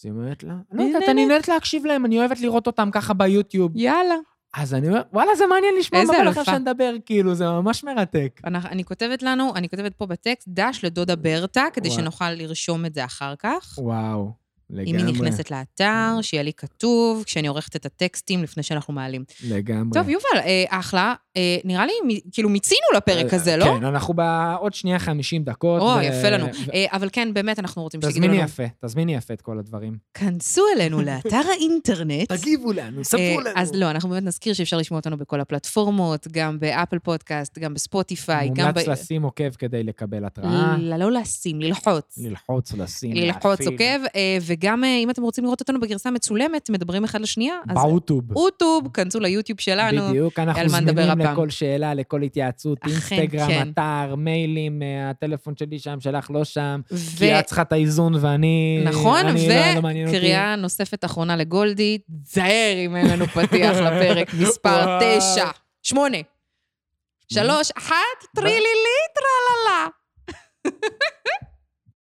[SPEAKER 1] אז היא אומרת לה, לא
[SPEAKER 2] אני
[SPEAKER 1] יודעת, אני נהנית להקשיב להם, אני אוהבת לראות אותם ככה ביוטיוב.
[SPEAKER 2] יאללה.
[SPEAKER 1] אז אני אומר, וואלה, זה מעניין לשמוע מה
[SPEAKER 2] איזה
[SPEAKER 1] בא לכם
[SPEAKER 2] אלופה."
[SPEAKER 1] שנדבר, כאילו, זה ממש מרתק.
[SPEAKER 2] אנחנו- אני כותבת לנו, אני כותבת פה בטקסט, דש לדודה ברטה, כדי
[SPEAKER 1] וואי.
[SPEAKER 2] שנוכל לרשום את זה אחר כך.
[SPEAKER 1] וואו, לגמרי.
[SPEAKER 2] אם היא נכנסת לאתר, שיהיה לי כתוב, כשאני עורכת את הטקסטים לפני שאנחנו מעלים.
[SPEAKER 1] לגמרי.
[SPEAKER 2] טוב, יובל, אה, אחלה. אה, נראה לי, מ- כאילו, מיצינו לפרק
[SPEAKER 1] אה,
[SPEAKER 2] הזה, לא?
[SPEAKER 1] כן, אנחנו בעוד שנייה 50 דקות.
[SPEAKER 2] או,
[SPEAKER 1] ו-
[SPEAKER 2] יפה לנו.
[SPEAKER 1] ו-
[SPEAKER 2] אה, אבל כן, באמת, אנחנו רוצים שתגידו
[SPEAKER 1] תזמיני
[SPEAKER 2] לנו.
[SPEAKER 1] יפה, תזמיני יפה את כל הדברים.
[SPEAKER 2] כנסו אלינו לאתר האינטרנט.
[SPEAKER 1] תגיבו לנו,
[SPEAKER 2] אה, אז לא, אנחנו באמת נזכיר שאפשר לשמוע אותנו בכל הפלטפורמות, גם באפל פודקאסט, גם בספוטיפיי, גם ב...
[SPEAKER 1] מומלץ לשים עוקב כדי לקבל התראה.
[SPEAKER 2] ל- לא לשים, ללחוץ.
[SPEAKER 1] ללחוץ, לשים,
[SPEAKER 2] ללחוץ
[SPEAKER 1] אה. להפעיל.
[SPEAKER 2] עוקב, אה, וגם אה, אם אתם רוצים לראות אותנו בגרסה מצולמת, מדברים אחד לשנייה, אז
[SPEAKER 1] באוטוב.
[SPEAKER 2] אוטוב, כנסו ליוטיוב שלנו.
[SPEAKER 1] בדיוק, אנחנו
[SPEAKER 2] על מה נדבר
[SPEAKER 1] זמינים
[SPEAKER 2] הפעם.
[SPEAKER 1] לכל שאלה, לכל התייעצות,
[SPEAKER 2] אכן, כן.
[SPEAKER 1] אינסטגרם, אתר, מיילים, אה, הטלפון שלי שם, שלך לא שם,
[SPEAKER 2] ו-
[SPEAKER 1] כי את צריכה את האיזון ואני...
[SPEAKER 2] נכון,
[SPEAKER 1] אני לא- לא מעניין אותי.
[SPEAKER 2] וקריאה נוספת אחרונה לגולדי, תזהר אם אין לנו פתיח לפרק מספר
[SPEAKER 1] וואו.
[SPEAKER 2] תשע, שמונה, שלוש, אחת, טרילילי, טרללה.